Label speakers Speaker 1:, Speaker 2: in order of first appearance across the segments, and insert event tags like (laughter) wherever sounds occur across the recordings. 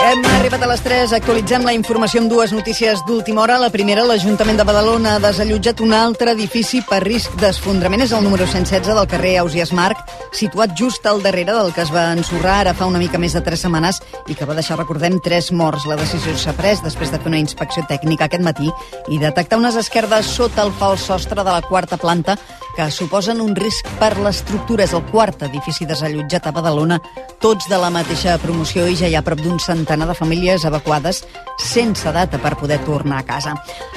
Speaker 1: Hem arribat a les 3, actualitzem la informació amb dues notícies d'última hora. La primera, l'Ajuntament de Badalona ha desallotjat un altre edifici per risc d'esfondrament. És el número 116 del carrer Ausias Marc, situat just al darrere del que es va ensorrar ara fa una mica més de 3 setmanes i que va deixar, recordem, 3 morts. La decisió s'ha pres després de fer una inspecció tècnica aquest matí i detectar unes esquerdes sota el fals sostre de la quarta planta que suposen un risc per l'estructura. És el quart edifici desallotjat a Badalona, tots de la mateixa promoció i ja hi ha prop d'un centenar de famílies evacuades sense data per poder tornar a casa.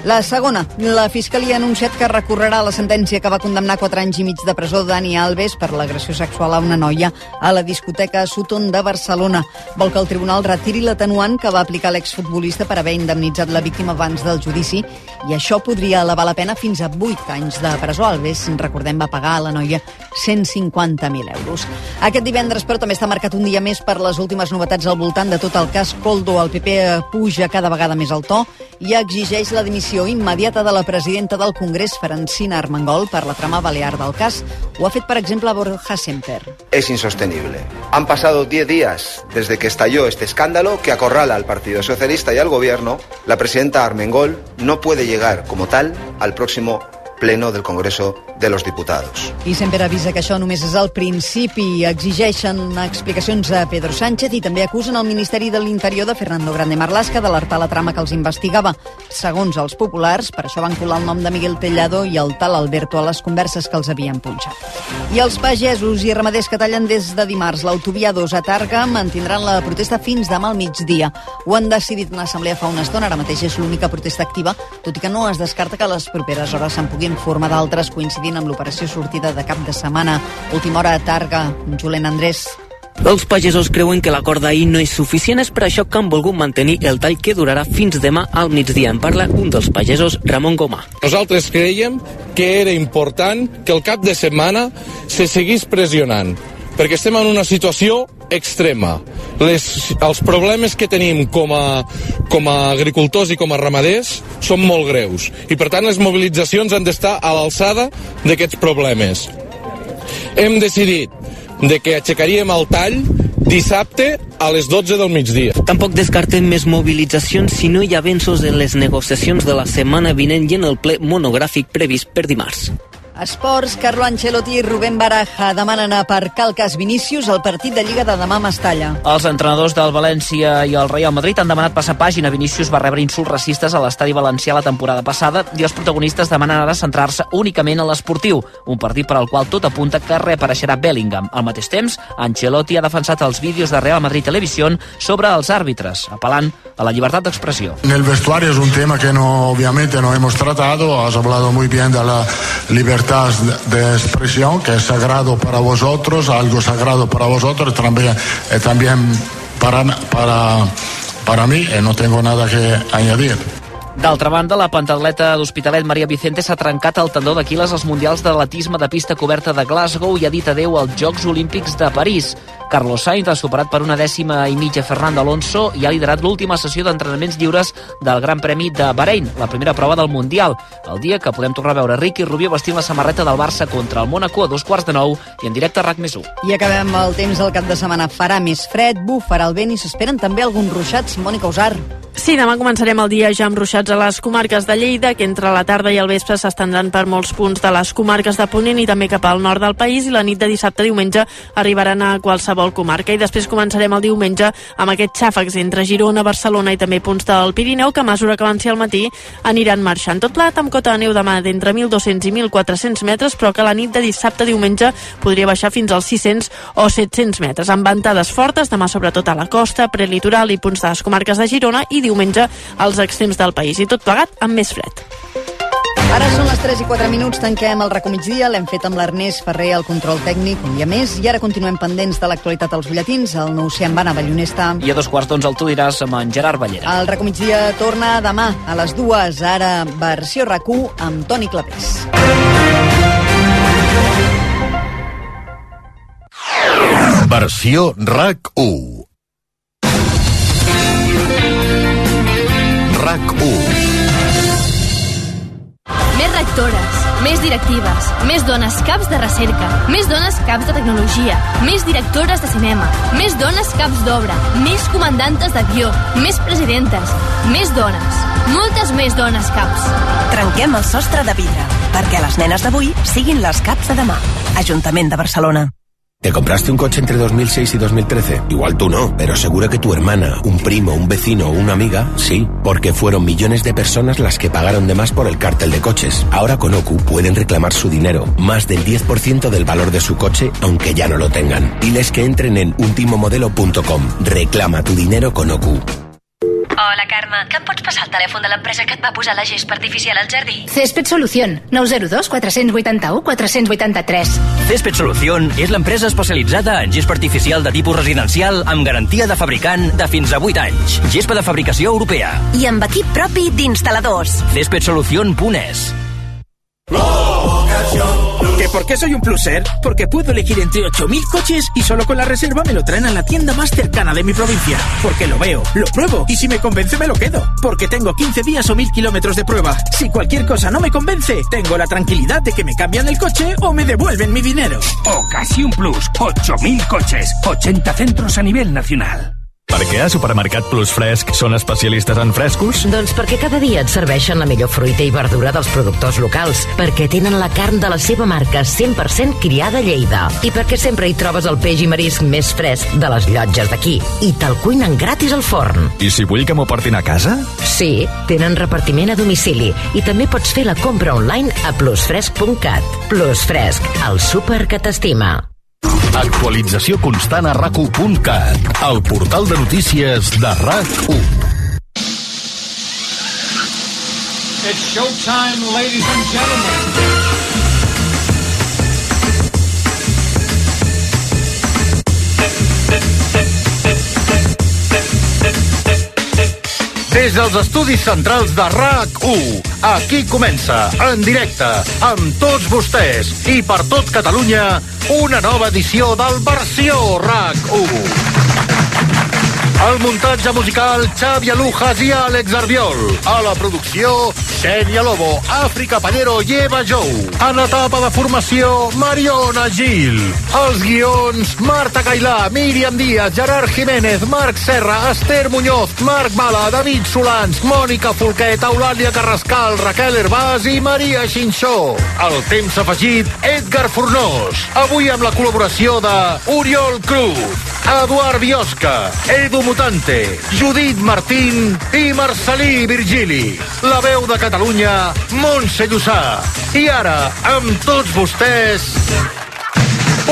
Speaker 1: La segona, la Fiscalia ha anunciat que recorrerà la sentència que va condemnar 4 anys i mig de presó Dani Alves per l'agressió sexual a una noia a la discoteca Sutton de Barcelona. Vol que el tribunal retiri l'atenuant que va aplicar l'exfutbolista per haver indemnitzat la víctima abans del judici i això podria elevar la pena fins a 8 anys de presó. Alves recordem, va pagar a la noia 150.000 euros. Aquest divendres, però, també està marcat un dia més per les últimes novetats al voltant de tot el cas Coldo. El PP puja cada vegada més al to i exigeix la dimissió immediata de la presidenta del Congrés, Francina Armengol, per la trama balear del cas. Ho ha fet, per exemple, Borja Semper.
Speaker 2: Es insostenible. Han pasado 10 días desde que estalló este escándalo que acorrala al Partido Socialista y al Gobierno. La presidenta Armengol no puede llegar como tal al próximo pleno del Congreso de los Diputados.
Speaker 1: I sempre avisa que això només és el principi. Exigeixen explicacions a Pedro Sánchez i també acusen el Ministeri de l'Interior de Fernando Grande Marlaska d'alertar la trama que els investigava. Segons els populars, per això van colar el nom de Miguel Tellado i el tal Alberto a les converses que els havien punxat. I els pagesos i ramaders que tallen des de dimarts l'autovia 2 a Targa mantindran la protesta fins demà al migdia. Ho han decidit en assemblea fa una estona, ara mateix és l'única protesta activa, tot i que no es descarta que a les properes hores se'n puguin en forma d'altres coincidint amb l'operació sortida de cap de setmana. Última hora a Targa, Julen Andrés.
Speaker 3: Els pagesos creuen que l'acord d'ahir no és suficient, és per això que han volgut mantenir el tall que durarà fins demà al migdia. En parla un dels pagesos, Ramon Gomà.
Speaker 4: Nosaltres creiem que era important que el cap de setmana se seguís pressionant, perquè estem en una situació extrema. Les, els problemes que tenim com a, com a agricultors i com a ramaders són molt greus i per tant les mobilitzacions han d'estar a l'alçada d'aquests problemes. Hem decidit de que aixecaríem el tall dissabte a les 12 del migdia.
Speaker 3: Tampoc descartem més mobilitzacions si no hi ha avenços en les negociacions de la setmana vinent i en el ple monogràfic previst per dimarts.
Speaker 1: Esports, Carlo Ancelotti i Rubén Baraja demanen aparcar el cas Vinícius al partit de Lliga de demà a Mestalla.
Speaker 5: Els entrenadors del València i el Real Madrid han demanat passar pàgina. Vinícius va rebre insults racistes a l'estadi valencià la temporada passada i els protagonistes demanen ara centrar-se únicament en l'esportiu, un partit per al qual tot apunta que reapareixerà Bellingham. Al mateix temps, Ancelotti ha defensat els vídeos de Real Madrid Televisió sobre els àrbitres, apel·lant a la llibertat d'expressió.
Speaker 6: En el vestuario es un tema que no, obviamente no hemos tratado, has hablado muy bien de la libertad de expresión, que es sagrado para vosotros, algo sagrado para vosotros, también, eh, también para, para, para mí, eh, no tengo nada que añadir.
Speaker 5: D'altra banda, la pentatleta d'Hospitalet Maria Vicente s'ha trencat el tendó d'Aquiles als Mundials d'Atletisme de Pista Coberta de Glasgow i ha dit adeu als Jocs Olímpics de París. Carlos Sainz ha superat per una dècima i mitja Fernando Alonso i ha liderat l'última sessió d'entrenaments lliures del Gran Premi de Bahrein, la primera prova del Mundial, el dia que podem tornar a veure Ricky Rubio vestint la samarreta del Barça contra el Mónaco a dos quarts de nou i en directe a RAC més 1.
Speaker 1: I acabem el temps del cap de setmana. Farà més fred, bufarà el vent i s'esperen també alguns ruixats. Mònica Usar.
Speaker 7: Sí, demà començarem el dia ja amb ruixats a les comarques de Lleida, que entre la tarda i el vespre s'estendran per molts punts de les comarques de Ponent i també cap al nord del país i la nit de dissabte a diumenge arribaran a qualsevol comarca. I després començarem el diumenge amb aquests xàfecs entre Girona, Barcelona i també punts del Pirineu, que a mesura que avanci al matí aniran marxant. Tot plat amb cota de neu demà d'entre 1.200 i 1.400 metres, però que la nit de dissabte a diumenge podria baixar fins als 600 o 700 metres. Amb ventades fortes demà sobretot a la costa, prelitoral i punts de les comarques de Girona i diumenge als extrems del país i tot plegat amb més fred.
Speaker 1: Ara són les 3 i 4 minuts, tanquem el recomitgia, l'hem fet amb l'Ernest Ferrer al control tècnic, un dia més, i ara continuem pendents de l'actualitat als butlletins, el nou Cian Bana Ballonesta.
Speaker 5: I a dos quarts d'onze el tu diràs amb en Gerard Ballera.
Speaker 1: El recomitgia torna demà a les dues, ara versió rac amb Toni Clapés.
Speaker 8: Versió RAC1 RAC1
Speaker 9: Més rectores, més directives, més dones caps de recerca, més dones caps de tecnologia, més directores de cinema, més dones caps d'obra, més comandantes d'avió, més presidentes, més dones, moltes més dones caps.
Speaker 7: Trenquem el sostre de vidre perquè les nenes d'avui siguin les caps de demà. Ajuntament de Barcelona.
Speaker 10: ¿Te compraste un coche entre 2006 y 2013? Igual tú no, pero seguro que tu hermana, un primo, un vecino o una amiga, sí, porque fueron millones de personas las que pagaron de más por el cártel de coches. Ahora con OCU pueden reclamar su dinero, más del 10% del valor de su coche, aunque ya no lo tengan. Diles que entren en ultimomodelo.com. Reclama tu dinero con OCU.
Speaker 11: Hola, Carme. Que em pots passar el telèfon de l'empresa que et va posar la gespa artificial al jardí?
Speaker 12: Césped Solución, 902 481 483.
Speaker 3: Césped Solución és l'empresa especialitzada en gespa artificial de tipus residencial amb garantia de fabricant de fins a 8 anys. Gespa de fabricació europea.
Speaker 7: I amb equip propi d'instal·ladors.
Speaker 3: Céspedsolución.es
Speaker 13: ¿Que por qué soy un pluser? Porque puedo elegir entre 8.000 coches y solo con la reserva me lo traen a la tienda más cercana de mi provincia. Porque lo veo, lo pruebo y si me convence me lo quedo. Porque tengo 15 días o 1.000 kilómetros de prueba. Si cualquier cosa no me convence, tengo la tranquilidad de que me cambian el coche o me devuelven mi dinero.
Speaker 14: Ocasión Plus, 8.000 coches, 80 centros a nivel nacional.
Speaker 15: Per què a Supermercat Plus Fresc són especialistes en frescos?
Speaker 16: Doncs perquè cada dia et serveixen la millor fruita i verdura dels productors locals, perquè tenen la carn de la seva marca 100% criada a Lleida i perquè sempre hi trobes el peix i marisc més fresc de les llotges d'aquí i te'l cuinen gratis al forn.
Speaker 15: I si vull que m'ho portin a casa?
Speaker 16: Sí, tenen repartiment a domicili i també pots fer la compra online a plusfresc.cat. Plus Fresc, el súper que t'estima.
Speaker 8: Actualització constant a rac1.cat, el portal de notícies de RAC1.
Speaker 17: It's showtime, ladies and gentlemen.
Speaker 8: Des dels estudis centrals de RAC1, aquí comença, en directe, amb tots vostès i per tot Catalunya, una nova edició del Versió RAC1. El muntatge musical, Xavi Alujas i Àlex Arbiol. A la producció, Xènia Lobo, Àfrica Pallero i Eva Jou. A l'etapa de formació, Mariona Gil. Els guions, Marta Cailà, Míriam Díaz, Gerard Jiménez, Marc Serra, Esther Muñoz, Marc Bala, David Solans, Mònica Folquet, Eulàlia Carrascal, Raquel Herbàs i Maria Xinxó. El temps afegit, Edgar Fornós. Avui amb la col·laboració de Oriol Cruz, Eduard Biosca, Edu Mutante, Judit Martín i Marcelí Virgili. La veu de Catalunya, Montse Llussà. I ara, amb tots vostès,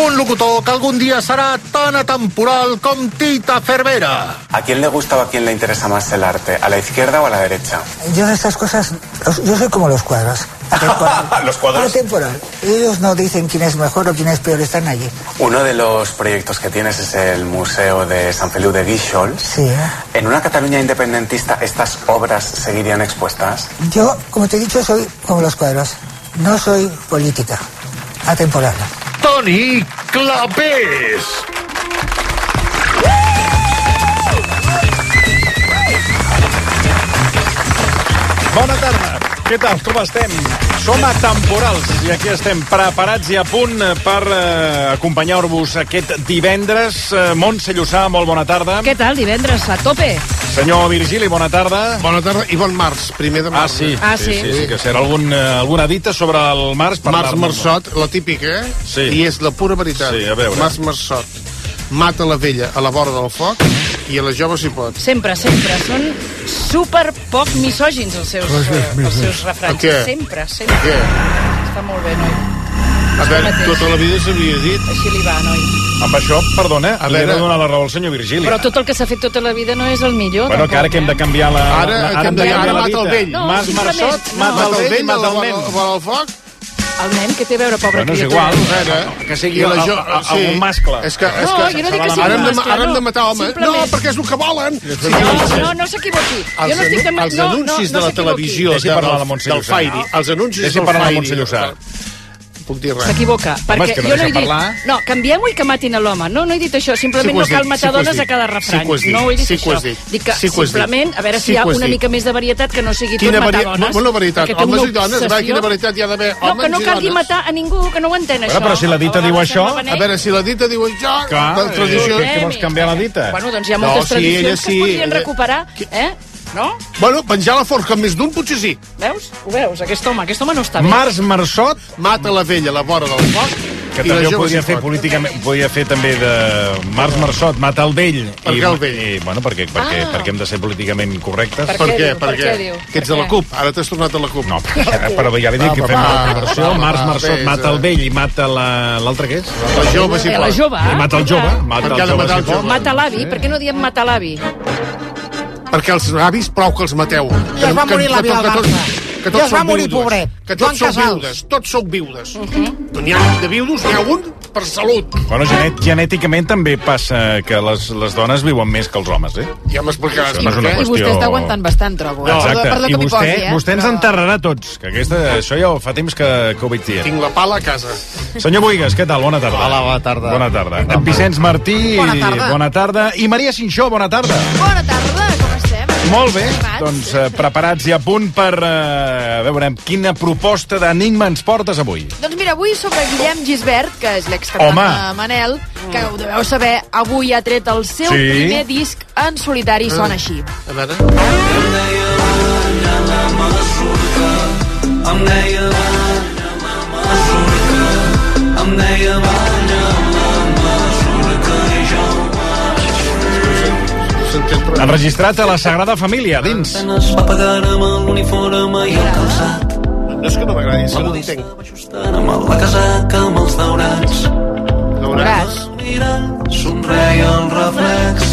Speaker 8: un locutor que algun dia serà tan atemporal com Tita Cervera.
Speaker 18: ¿A quién le gusta o a quién le interesa más el arte? ¿A la izquierda o a la derecha?
Speaker 19: Yo de estas cosas, os- yo soy como los
Speaker 18: (laughs)
Speaker 19: cuadros. Temporal.
Speaker 18: Los cuadros.
Speaker 19: Pero temporal. Ellos no dicen quién es mejor o quién es peor, están allí.
Speaker 18: Uno de los proyectos que tienes es el Museo de San Feliu de Guíxols.
Speaker 19: Sí, ¿eh?
Speaker 18: En una Cataluña independentista, ¿estas obras seguirían expuestas?
Speaker 19: Yo, como te he dicho, soy como los cuadros. No soy política, atemporal.
Speaker 8: Toni Clapés.
Speaker 20: Bona tarda. Què tal? Com estem? Som atemporals i aquí estem preparats i a punt per eh, acompanyar-vos aquest divendres. Eh, Montse Llussà, molt bona tarda.
Speaker 21: Què tal, divendres? A tope.
Speaker 20: Senyor Virgili, bona tarda.
Speaker 22: Bona tarda i bon març, primer de març.
Speaker 20: Ah, sí.
Speaker 21: Ah, sí.
Speaker 20: sí, sí, sí que serà algun, eh, alguna dita sobre el març. per
Speaker 22: Març
Speaker 20: parlar-ne.
Speaker 22: Marçot, la típica, eh?
Speaker 20: Sí.
Speaker 22: I és la pura veritat.
Speaker 20: Sí, a veure.
Speaker 22: Març Marçot mata la vella a la vora del foc i a la jove si pot.
Speaker 21: Sempre, sempre. Són super poc misògins els seus,
Speaker 22: Res més,
Speaker 21: eh,
Speaker 22: més,
Speaker 21: els
Speaker 22: més.
Speaker 21: seus refranys.
Speaker 22: A què?
Speaker 21: Sempre, sempre.
Speaker 22: Què?
Speaker 21: Està molt bé, noi.
Speaker 22: A veure, tota la vida s'havia dit...
Speaker 21: Així li va, noi.
Speaker 20: Amb això, perdona, a li he
Speaker 22: veure.
Speaker 20: de donar la raó al senyor Virgili.
Speaker 21: Però tot el que s'ha fet tota la vida no és el millor.
Speaker 20: Bueno, que ara que hem de canviar la...
Speaker 22: Ara
Speaker 20: la-
Speaker 22: que hem de canviar-
Speaker 20: la
Speaker 22: ara mata
Speaker 20: dita.
Speaker 22: el vell. No,
Speaker 20: Mas
Speaker 22: simplement,
Speaker 20: Marçot,
Speaker 22: no.
Speaker 20: mata el vell,
Speaker 22: a la
Speaker 20: mata el
Speaker 22: vora a
Speaker 20: nen.
Speaker 22: la vora del foc.
Speaker 21: El nen, que té a veure, pobre
Speaker 20: Bueno, és
Speaker 21: criatura?
Speaker 20: igual. Que sigui
Speaker 22: I la
Speaker 20: el-
Speaker 22: eh? jo-
Speaker 20: el-
Speaker 22: sí.
Speaker 20: algun mascle.
Speaker 22: És que, és
Speaker 21: No,
Speaker 22: que,
Speaker 21: jo no dic que sigui
Speaker 22: ara hem de,
Speaker 21: mascle,
Speaker 22: ara hem
Speaker 21: no.
Speaker 22: de matar home. No,
Speaker 21: Simplement.
Speaker 22: perquè és el que volen. Sí,
Speaker 21: No, no, no s'equivoqui.
Speaker 22: Els,
Speaker 21: Jo no estic
Speaker 22: anu
Speaker 21: demanant...
Speaker 22: els
Speaker 21: no,
Speaker 22: anuncis
Speaker 21: no, no
Speaker 22: de la
Speaker 21: s'equivoqui.
Speaker 22: televisió
Speaker 20: Deixi
Speaker 22: de,
Speaker 20: parlar la
Speaker 22: del,
Speaker 20: Montse
Speaker 22: del
Speaker 20: Llussà.
Speaker 22: Fairy, els anuncis
Speaker 20: Deixi
Speaker 22: del
Speaker 20: parlar la
Speaker 22: Fairy,
Speaker 20: Montse Llussà.
Speaker 22: del-
Speaker 18: puc dir res.
Speaker 21: S'equivoca. Perquè
Speaker 18: és que no
Speaker 21: jo no he
Speaker 18: deixa
Speaker 21: dit...
Speaker 18: parlar.
Speaker 21: No, canviem-ho i que matin a l'home. No, no he dit això.
Speaker 18: Sí
Speaker 21: Simplement
Speaker 18: que ho
Speaker 21: no
Speaker 18: has
Speaker 21: cal
Speaker 18: dit,
Speaker 21: matar
Speaker 18: sí que ho has
Speaker 21: dones a
Speaker 18: dit,
Speaker 21: cada
Speaker 18: sí que ho has
Speaker 21: refrany.
Speaker 18: dit,
Speaker 21: no he dit
Speaker 18: sí que ho
Speaker 21: això.
Speaker 18: has dit,
Speaker 21: Dic que
Speaker 18: sí que ho has dit.
Speaker 21: simplement, a veure
Speaker 18: Sí
Speaker 21: si hi
Speaker 18: que
Speaker 21: ha
Speaker 18: ho has
Speaker 21: una
Speaker 18: dit.
Speaker 21: mica més de varietat que no sigui
Speaker 18: Quina
Speaker 21: tot matar
Speaker 18: varia-
Speaker 21: dones.
Speaker 18: bona varietat,
Speaker 21: perquè té
Speaker 18: homes
Speaker 21: una
Speaker 18: i dones, va,
Speaker 21: obsessió.
Speaker 18: quina varietat hi ha d'haver,
Speaker 21: No,
Speaker 18: homes
Speaker 21: que no
Speaker 18: i
Speaker 21: calgui
Speaker 18: dones.
Speaker 21: matar a ningú, que no ho entén,
Speaker 20: Bueno,
Speaker 21: això.
Speaker 20: però si la dita
Speaker 21: A
Speaker 20: diu
Speaker 21: vegades
Speaker 20: això-
Speaker 21: sembla beneit.
Speaker 18: A veure, si la dita diu això,
Speaker 20: Clar,
Speaker 18: la
Speaker 20: eh,
Speaker 18: tradició...
Speaker 20: què- què vols canviar la dita?
Speaker 21: Bueno, doncs hi ha moltes
Speaker 18: no, sí, ella
Speaker 21: tradicions
Speaker 18: sí.
Speaker 21: que es podrien recuperar, eh? No?
Speaker 18: Bueno, penjar la forca amb més d'un potser sí.
Speaker 21: Veus? Ho veus? Aquest home, aquest home no està bé.
Speaker 20: Març Marçot...
Speaker 18: Mata la vella a la vora del foc.
Speaker 20: Que
Speaker 18: i la
Speaker 20: també ho
Speaker 18: jove
Speaker 20: podria
Speaker 18: s'hi
Speaker 20: fer
Speaker 18: fot.
Speaker 20: políticament, podria fer també de Març Marçot, mata el vell.
Speaker 18: Per què el vell?
Speaker 20: I, bueno, perquè, perquè,
Speaker 18: Ah.
Speaker 20: perquè hem de ser políticament correctes.
Speaker 18: Per què, per què? Que ets de la CUP, ara t'has tornat a la CUP. No,
Speaker 20: Però ja li he dit que fem una altra versió. Març Marçot
Speaker 18: vés,
Speaker 20: mata el vell i mata la- l'altre que és?
Speaker 18: La jove, si
Speaker 21: Eh, la pot. jove,
Speaker 20: I mata el jove. Mata
Speaker 18: Perquè ha
Speaker 20: el
Speaker 18: de
Speaker 20: jove,
Speaker 18: matar
Speaker 20: si
Speaker 18: el
Speaker 20: pot.
Speaker 18: jove.
Speaker 21: Mata l'avi, per què no diem matar l'avi?
Speaker 18: Perquè els avis prou que els mateu.
Speaker 21: I es va morir l'avi
Speaker 18: tot-
Speaker 21: del
Speaker 18: que tots- que tots
Speaker 21: I es va
Speaker 18: són
Speaker 21: morir,
Speaker 18: viudes.
Speaker 21: pobret.
Speaker 18: Que
Speaker 21: Joan
Speaker 18: tots sou
Speaker 21: Casals. Mhm.
Speaker 18: viudes, tots sou viudes. N'hi ha de viudos, n'hi ha un per salut.
Speaker 20: Bueno, genet, genèticament també passa que les, les dones viuen més que els homes, eh?
Speaker 18: Ja m'explicaràs
Speaker 20: Això no és
Speaker 18: per
Speaker 20: una
Speaker 18: què.
Speaker 23: I vostè
Speaker 20: qüestió-
Speaker 23: està aguantant bastant, trobo. Eh?
Speaker 20: Exacte.
Speaker 23: Perdó, perdó
Speaker 20: I
Speaker 23: que m'hi
Speaker 20: vostè,
Speaker 23: posi, eh?
Speaker 20: vostè ens enterrarà a tots, que aquesta, això ja ho fa temps que, que ho vaig dir.
Speaker 18: Tinc la pala a casa.
Speaker 20: Senyor Boigues, què tal? Bona tarda. Hola, bona tarda. Bona tarda. En Vicenç Martí,
Speaker 23: Bona tarda.
Speaker 20: bona tarda. I Maria Sinxó, bona tarda.
Speaker 23: Bona tarda, com estem?
Speaker 20: Molt bé, doncs eh, preparats i a punt per eh, veure quina proposta d'enigma ens portes avui.
Speaker 23: Doncs mira, avui sobre Guillem Gisbert, que és
Speaker 20: Home.
Speaker 23: l'excantant de Manel, que ho deveu saber, avui ha tret el seu
Speaker 18: Sí.
Speaker 23: primer disc en solitari
Speaker 20: Ah.
Speaker 23: i sona així.
Speaker 18: A veure...
Speaker 20: Enregistrat a la Sagrada Família, dins.
Speaker 14: Va pegar-me l'uniforme i el calçat.
Speaker 18: No és que no m'agradi, és que no entenc.
Speaker 14: Amb la casaca, amb els daurats.
Speaker 23: Veuràs.
Speaker 14: Somreia el reflex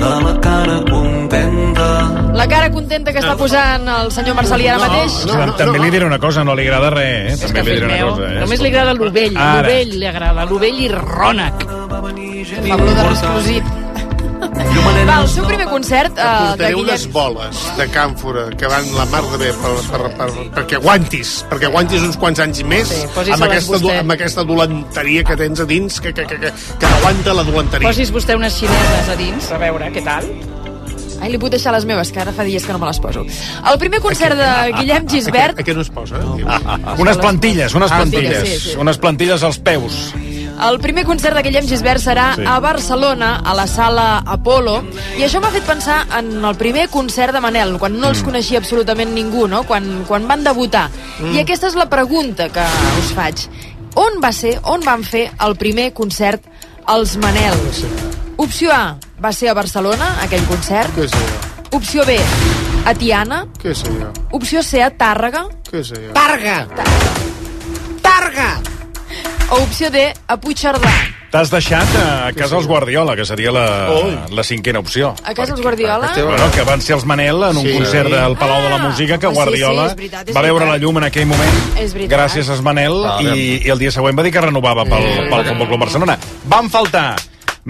Speaker 14: de la cara contenta.
Speaker 23: La cara contenta que està posant el senyor Marcelí ara mateix.
Speaker 20: També li diré una cosa, no li agrada res, eh? També li diré una cosa. Eh?
Speaker 21: Només li agrada l'ovell,
Speaker 20: Ara.
Speaker 21: l'ovell li agrada, l'ovell i Rònec.
Speaker 23: Pablo de Resclosit. Va, el seu primer concert
Speaker 21: Ah,
Speaker 23: eh, de
Speaker 18: Portaré unes
Speaker 23: Guillem...
Speaker 18: boles de càmfora que van la mar de bé per, per, per, perquè aguantis, perquè aguantis uns quants anys més
Speaker 21: Sí, posi-se-les
Speaker 18: amb, aquesta, do-
Speaker 21: vostè.
Speaker 18: amb aquesta dolenteria que tens a dins, que, que, que, que, que t'aguanta la dolenteria.
Speaker 21: Posis vostè unes xineses a dins, a veure què tal.
Speaker 23: Ai, li puc deixar les meves, que ara fa dies que no me les poso. El primer concert de
Speaker 20: (laughs)
Speaker 23: Guillem Gisbert
Speaker 18: A què no es posa? eh?
Speaker 20: Unes plantilles, unes
Speaker 23: Ah,
Speaker 20: plantilles.
Speaker 23: sí, sí, sí.
Speaker 20: Unes plantilles als peus.
Speaker 23: El primer concert de Guillem Gisbert serà
Speaker 20: Sí.
Speaker 23: sí. a Barcelona, a la sala Apolo, i això m'ha fet pensar en el primer concert de Manel, quan no els coneixia absolutament ningú, no? quan, quan van debutar.
Speaker 12: Mm.
Speaker 23: Mm. I aquesta és la pregunta que us faig. On va ser, on van fer el primer concert els Manels? Opció A, va ser a Barcelona, aquell concert.
Speaker 18: Què sé jo?
Speaker 23: Opció B, a Tiana.
Speaker 18: Què sé jo?
Speaker 23: Opció C, a Tàrrega.
Speaker 18: Què sé jo?
Speaker 23: Targa! Targa! O opció D, a Puigcerdà.
Speaker 20: T'has deixat eh, a casa els Guardiola, que seria la, la cinquena opció.
Speaker 23: A casa els Guardiola?
Speaker 20: Bueno, que van ser els Manel en un
Speaker 18: Sí.
Speaker 20: concert del Palau de la Música que
Speaker 23: Ah, sí,
Speaker 20: Guardiola
Speaker 23: sí, és veritat, és
Speaker 20: va veure
Speaker 23: veritat.
Speaker 20: la llum en aquell moment
Speaker 23: És veritat.
Speaker 20: gràcies a Manel
Speaker 18: Clar,
Speaker 20: i, i el dia següent va dir que renovava pel, pel Futbol Club Barcelona. Van faltar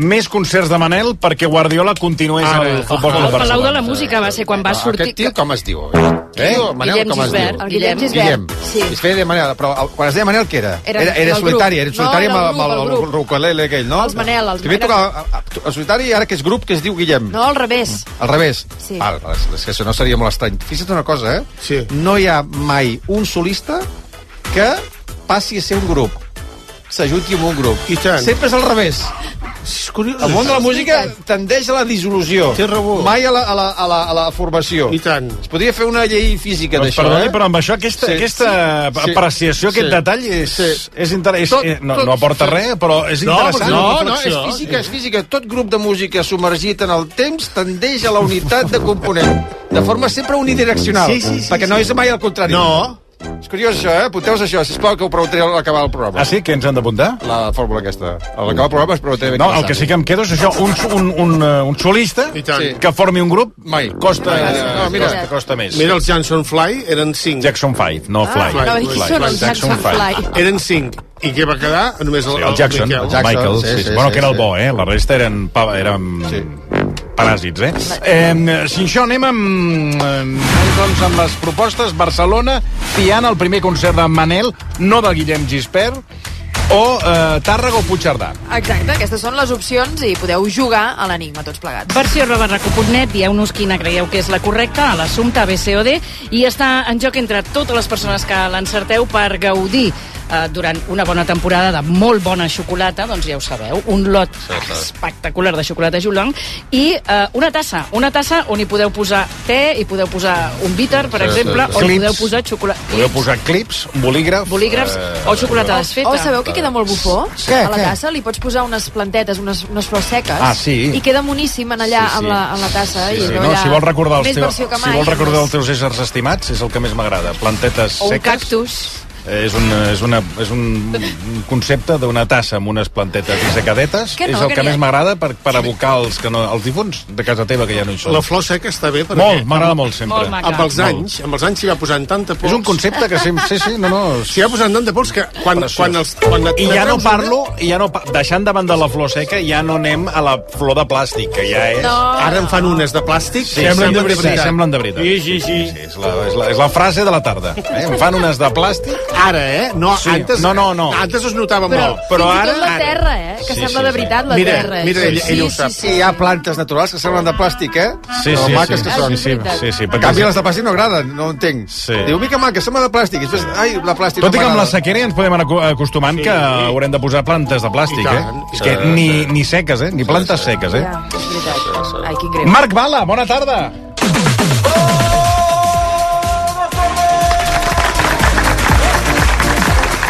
Speaker 20: més concerts de Manel perquè Guardiola continués
Speaker 10: Ara.
Speaker 20: al Futbol
Speaker 21: El
Speaker 20: Club
Speaker 21: Palau de
Speaker 20: Barcelona.
Speaker 21: la Música va ser quan va sortir...
Speaker 10: Ah, Aquest tio com es diu? Eh? Tio, Manel,
Speaker 21: Guillem
Speaker 10: com es
Speaker 21: Gisbert.
Speaker 10: diu?
Speaker 21: El Guillem Gisbert.
Speaker 10: Guillem.
Speaker 21: Sí.
Speaker 10: Es feia de Manel, però el- quan es deia Manel, què era? era,
Speaker 23: Era- era
Speaker 10: era
Speaker 23: el
Speaker 10: solitari,
Speaker 23: grup.
Speaker 10: era solitari
Speaker 23: No, era el
Speaker 10: amb, el,
Speaker 23: grup,
Speaker 10: amb
Speaker 23: el
Speaker 10: el, el ukulele aquell, no?
Speaker 23: Els Manel, els
Speaker 10: Primer
Speaker 23: Manel.
Speaker 10: tocava a- a- el solitari i ara que és grup que es diu Guillem.
Speaker 23: No, al revés.
Speaker 10: Al revés.
Speaker 23: Sí.
Speaker 10: Val, és, és que això no seria molt estrany. Fixa't una cosa, eh? Sí. No hi ha mai un solista que passi a ser un grup s'ajunti amb un grup. I tant. Sempre és al revés.
Speaker 18: És curiós.
Speaker 10: El món de la música tendeix a la dissolució.
Speaker 18: Té raó.
Speaker 10: Mai a la, a la, a la, a la formació. I tant. Es podria fer una llei física
Speaker 20: Doncs
Speaker 10: d'això,
Speaker 20: perdoni,
Speaker 10: eh?
Speaker 20: però amb això aquesta- aquesta apreciació, aquest detall és- és inter- és- eh, no- no aporta res, però és interessant.
Speaker 10: No, no,
Speaker 20: Reflexió.
Speaker 10: és física, és física. Tot grup de música submergit en el temps tendeix a la unitat de component. De forma sempre unidireccional.
Speaker 18: Sí, sí, sí,
Speaker 10: perquè no
Speaker 18: sí.
Speaker 10: és mai el contrari.
Speaker 18: No.
Speaker 10: És curiós això, eh? Apunteu-vos això, sisplau, que ho preguntaré a l'acabar el programa.
Speaker 20: Ah, sí? Què ens han d'apuntar?
Speaker 10: La fórmula aquesta. A l'acabar el programa es preguntaré...
Speaker 20: No, el que sí que em quedo és això, un, un, un, eh, un solista que formi un grup
Speaker 10: mai.
Speaker 20: costa,
Speaker 18: No,
Speaker 20: no,
Speaker 18: mira.
Speaker 20: costa, costa més.
Speaker 18: Mira, els Jackson Fly eren 5.
Speaker 20: Jackson 5, no
Speaker 18: Ah,
Speaker 20: Fly.
Speaker 18: no, ells són els
Speaker 20: Jackson
Speaker 18: Jackson
Speaker 20: 5.
Speaker 18: Fly. Eren 5. I què va quedar? Només el,
Speaker 20: Sí, el Jackson,
Speaker 18: Miquel.
Speaker 20: Michael, sí, sí, bueno, que era el bo, eh? La resta eren... Pa, eren sí. paràsits, eh? eh si això anem amb, eh, doncs amb les propostes. Barcelona, Tiana, el primer concert de Manel, no de Guillem Gispert, o eh, Tàrrega o Puigcerdà.
Speaker 23: Exacte, aquestes són les opcions i podeu jugar a l'enigma tots plegats.
Speaker 21: Versió robarraco.net, dieu-nos quina creieu que és la correcta, a l'assumpte ABCOD, i està en joc entre totes les persones que l'encerteu per gaudir eh, durant una bona temporada de molt bona xocolata, doncs ja ho sabeu, un lot espectacular de xocolata Julong, i eh, una tassa, una tassa on hi podeu posar te, hi podeu posar un bitter, per
Speaker 20: Sí, sí, sí.
Speaker 21: exemple, o
Speaker 20: Clips.
Speaker 21: podeu posar xocolata...
Speaker 20: Podeu posar clips, eh, bolígraf...
Speaker 21: Bolígrafs o xocolata desfeta.
Speaker 23: O Oh, sabeu que queda molt bufó?
Speaker 20: Què,
Speaker 23: a la
Speaker 20: què?
Speaker 23: tassa li pots posar unes plantetes, unes, unes flors seques,
Speaker 20: Ah, sí?
Speaker 23: i queda moníssim en allà, amb, la, amb la tassa.
Speaker 20: Sí,
Speaker 23: i
Speaker 20: sí,
Speaker 23: allò
Speaker 20: no,
Speaker 23: allà,
Speaker 20: si vols recordar, els
Speaker 23: més
Speaker 20: teus,
Speaker 23: versió que mai.
Speaker 20: si vols recordar els teus éssers estimats, és el que més m'agrada. Plantetes
Speaker 23: O un
Speaker 20: seques.
Speaker 23: cactus.
Speaker 20: Eh, És, un, és, una, és un un concepte d'una tassa amb unes plantetes i secadetes.
Speaker 18: Que no,
Speaker 20: és el
Speaker 18: que
Speaker 20: que,
Speaker 18: n'hi ha.
Speaker 20: més m'agrada per, per abocar els, que no, els difunts de casa teva que ja no hi són.
Speaker 18: La flor seca està bé. Perquè
Speaker 20: Molt, m'agrada molt sempre. Molt maca.
Speaker 18: amb els
Speaker 20: Molt.
Speaker 18: anys, amb els anys s'hi va posant tanta pols.
Speaker 20: És un concepte que sempre- sí, sí, no, no.
Speaker 18: S'hi va posant tanta pols que quan, quan, els, quan et-
Speaker 20: I ja no
Speaker 18: treus una-
Speaker 20: parlo, i ja no, pa- deixant de banda la flor seca, ja no anem a la flor de plàstic, que ja és...
Speaker 18: No. Ara en fan unes de plàstic?
Speaker 20: semblen de veritat. Sí, semblen de veritat.
Speaker 18: Sí, sí, sí.
Speaker 20: És la, és la, és la frase de la tarda. Eh? En fan unes de plàstic...
Speaker 18: Ara, eh? No,
Speaker 20: Sí.
Speaker 18: antes,
Speaker 20: No, no, no.
Speaker 18: Antes es notava
Speaker 23: Però,
Speaker 18: molt.
Speaker 23: però ara... la terra, eh? Que
Speaker 18: Sí,
Speaker 23: sembla
Speaker 18: sí,
Speaker 23: de veritat la
Speaker 18: Mira,
Speaker 23: terra. eh.
Speaker 18: mira, ell- ell ho sap.
Speaker 10: Sí, eh? hi ha plantes naturals que semblen de plàstic, eh?
Speaker 20: Sí,
Speaker 10: Però
Speaker 20: sí,
Speaker 10: maques
Speaker 20: sí.
Speaker 10: que
Speaker 20: Ah,
Speaker 10: són.
Speaker 20: és veritat. Sí, sí, perquè-
Speaker 10: en canvi, les de plàstic no agraden, no ho entenc.
Speaker 20: Sí.
Speaker 10: Diu, mica maca, sembla de plàstic. I després, ai, la plàstic
Speaker 20: Tot i
Speaker 10: no
Speaker 20: que amb la
Speaker 10: m'agrada.
Speaker 20: sequera ja ens podem anar acu- acostumant sí, que haurem de posar plantes de plàstic,
Speaker 10: I
Speaker 20: eh?
Speaker 10: tant.
Speaker 20: És que
Speaker 10: Sí,
Speaker 20: ni, ni seques, eh? Ni plantes seques, eh?
Speaker 23: Ja, és veritat. Ai, quin greu.
Speaker 20: Marc Bala, bona tarda!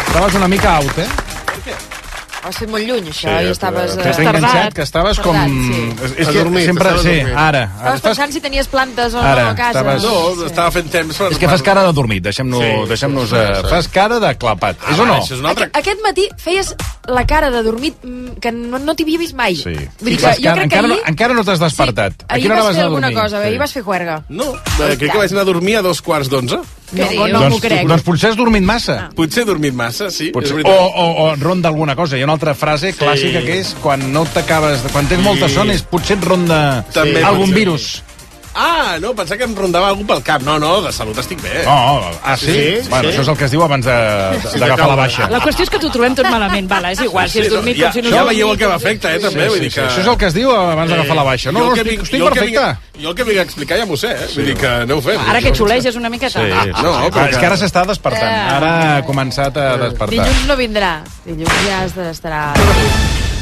Speaker 20: Estaves una mica out, eh?
Speaker 23: Ho has fet molt lluny, això, i estaves...
Speaker 20: Que
Speaker 23: eh,
Speaker 20: t'he enganxat, que estaves com...
Speaker 23: Tardat, sí.
Speaker 20: És, és que
Speaker 18: Adormit,
Speaker 20: sempre...
Speaker 18: estava
Speaker 20: Sí,
Speaker 18: adormit.
Speaker 20: ara. ara
Speaker 23: Estaves pensant si tenies plantes o
Speaker 20: Ara,
Speaker 23: no a casa.
Speaker 20: estaves-
Speaker 18: No, estava fent temps. per-
Speaker 20: És que fas cara de dormit, deixem-nos...
Speaker 18: Sí, sí,
Speaker 20: deixem
Speaker 18: sí, sí.
Speaker 20: Fas cara de clapat, és o no?
Speaker 18: això és una altra-
Speaker 23: Aquest matí feies la cara de dormit mm, que no, no t'hi havia vist mai.
Speaker 20: Sí.
Speaker 23: Vull dir que
Speaker 20: Fas
Speaker 23: jo
Speaker 20: cara-
Speaker 23: crec que
Speaker 20: encara,
Speaker 23: ahir,
Speaker 20: no, encara no t'has despertat. a
Speaker 23: ahir
Speaker 20: quina hora
Speaker 23: vas,
Speaker 20: vas
Speaker 23: fer
Speaker 20: anar a
Speaker 23: alguna
Speaker 20: dormir?
Speaker 23: cosa, bé, ahir vas fer juerga.
Speaker 18: No, Eh, crec que vaig anar a dormir a dos quarts d'onze.
Speaker 23: Què No, dius? no m'ho
Speaker 20: doncs,
Speaker 23: crec.
Speaker 20: Doncs potser has dormit massa.
Speaker 18: Ah. Potser he dormit massa, sí.
Speaker 20: Potser.
Speaker 18: és
Speaker 20: O,
Speaker 18: veritat.
Speaker 20: o, o ronda alguna cosa. Hi ha una altra frase clàssica que és quan no t'acabes... de- Quan tens
Speaker 18: Sí.
Speaker 20: molta son és potser et ronda
Speaker 18: També pot
Speaker 20: algun
Speaker 18: ser.
Speaker 20: virus.
Speaker 18: Ah, no, pensava que em rondava algú pel cap. No, no, de salut estic bé.
Speaker 20: Oh, oh, ah, sí? bueno, això és el que es diu abans de- d'agafar
Speaker 18: Sí, d'acabar.
Speaker 20: la baixa.
Speaker 21: La qüestió és que t'ho trobem tot malament, Vala, és igual, si has dormit
Speaker 18: ja,
Speaker 21: com si no
Speaker 18: ja
Speaker 21: has
Speaker 18: veieu el
Speaker 21: dormit.
Speaker 18: que m'afecta, eh, també.
Speaker 20: Sí,
Speaker 18: vull
Speaker 20: sí,
Speaker 18: dir
Speaker 20: sí.
Speaker 18: que... Eh,
Speaker 20: Això és el que es diu abans d'agafar la baixa. No,
Speaker 18: jo el
Speaker 20: no,
Speaker 18: que
Speaker 20: estic-
Speaker 18: vinc-
Speaker 20: estic
Speaker 18: jo el que
Speaker 20: perfecte.
Speaker 18: vinc- Jo el que vinc a explicar ja m'ho sé, eh? Vull dir que aneu fent.
Speaker 21: Ara que xuleges una miqueta.
Speaker 20: Sí.
Speaker 18: Ah, no,
Speaker 20: Ah,
Speaker 18: però
Speaker 20: és
Speaker 18: que- Eh,
Speaker 20: que ara s'està despertant.
Speaker 23: Eh.
Speaker 20: Ara ha començat a despertar.
Speaker 23: Dilluns no vindrà. Dilluns ja es- estarà...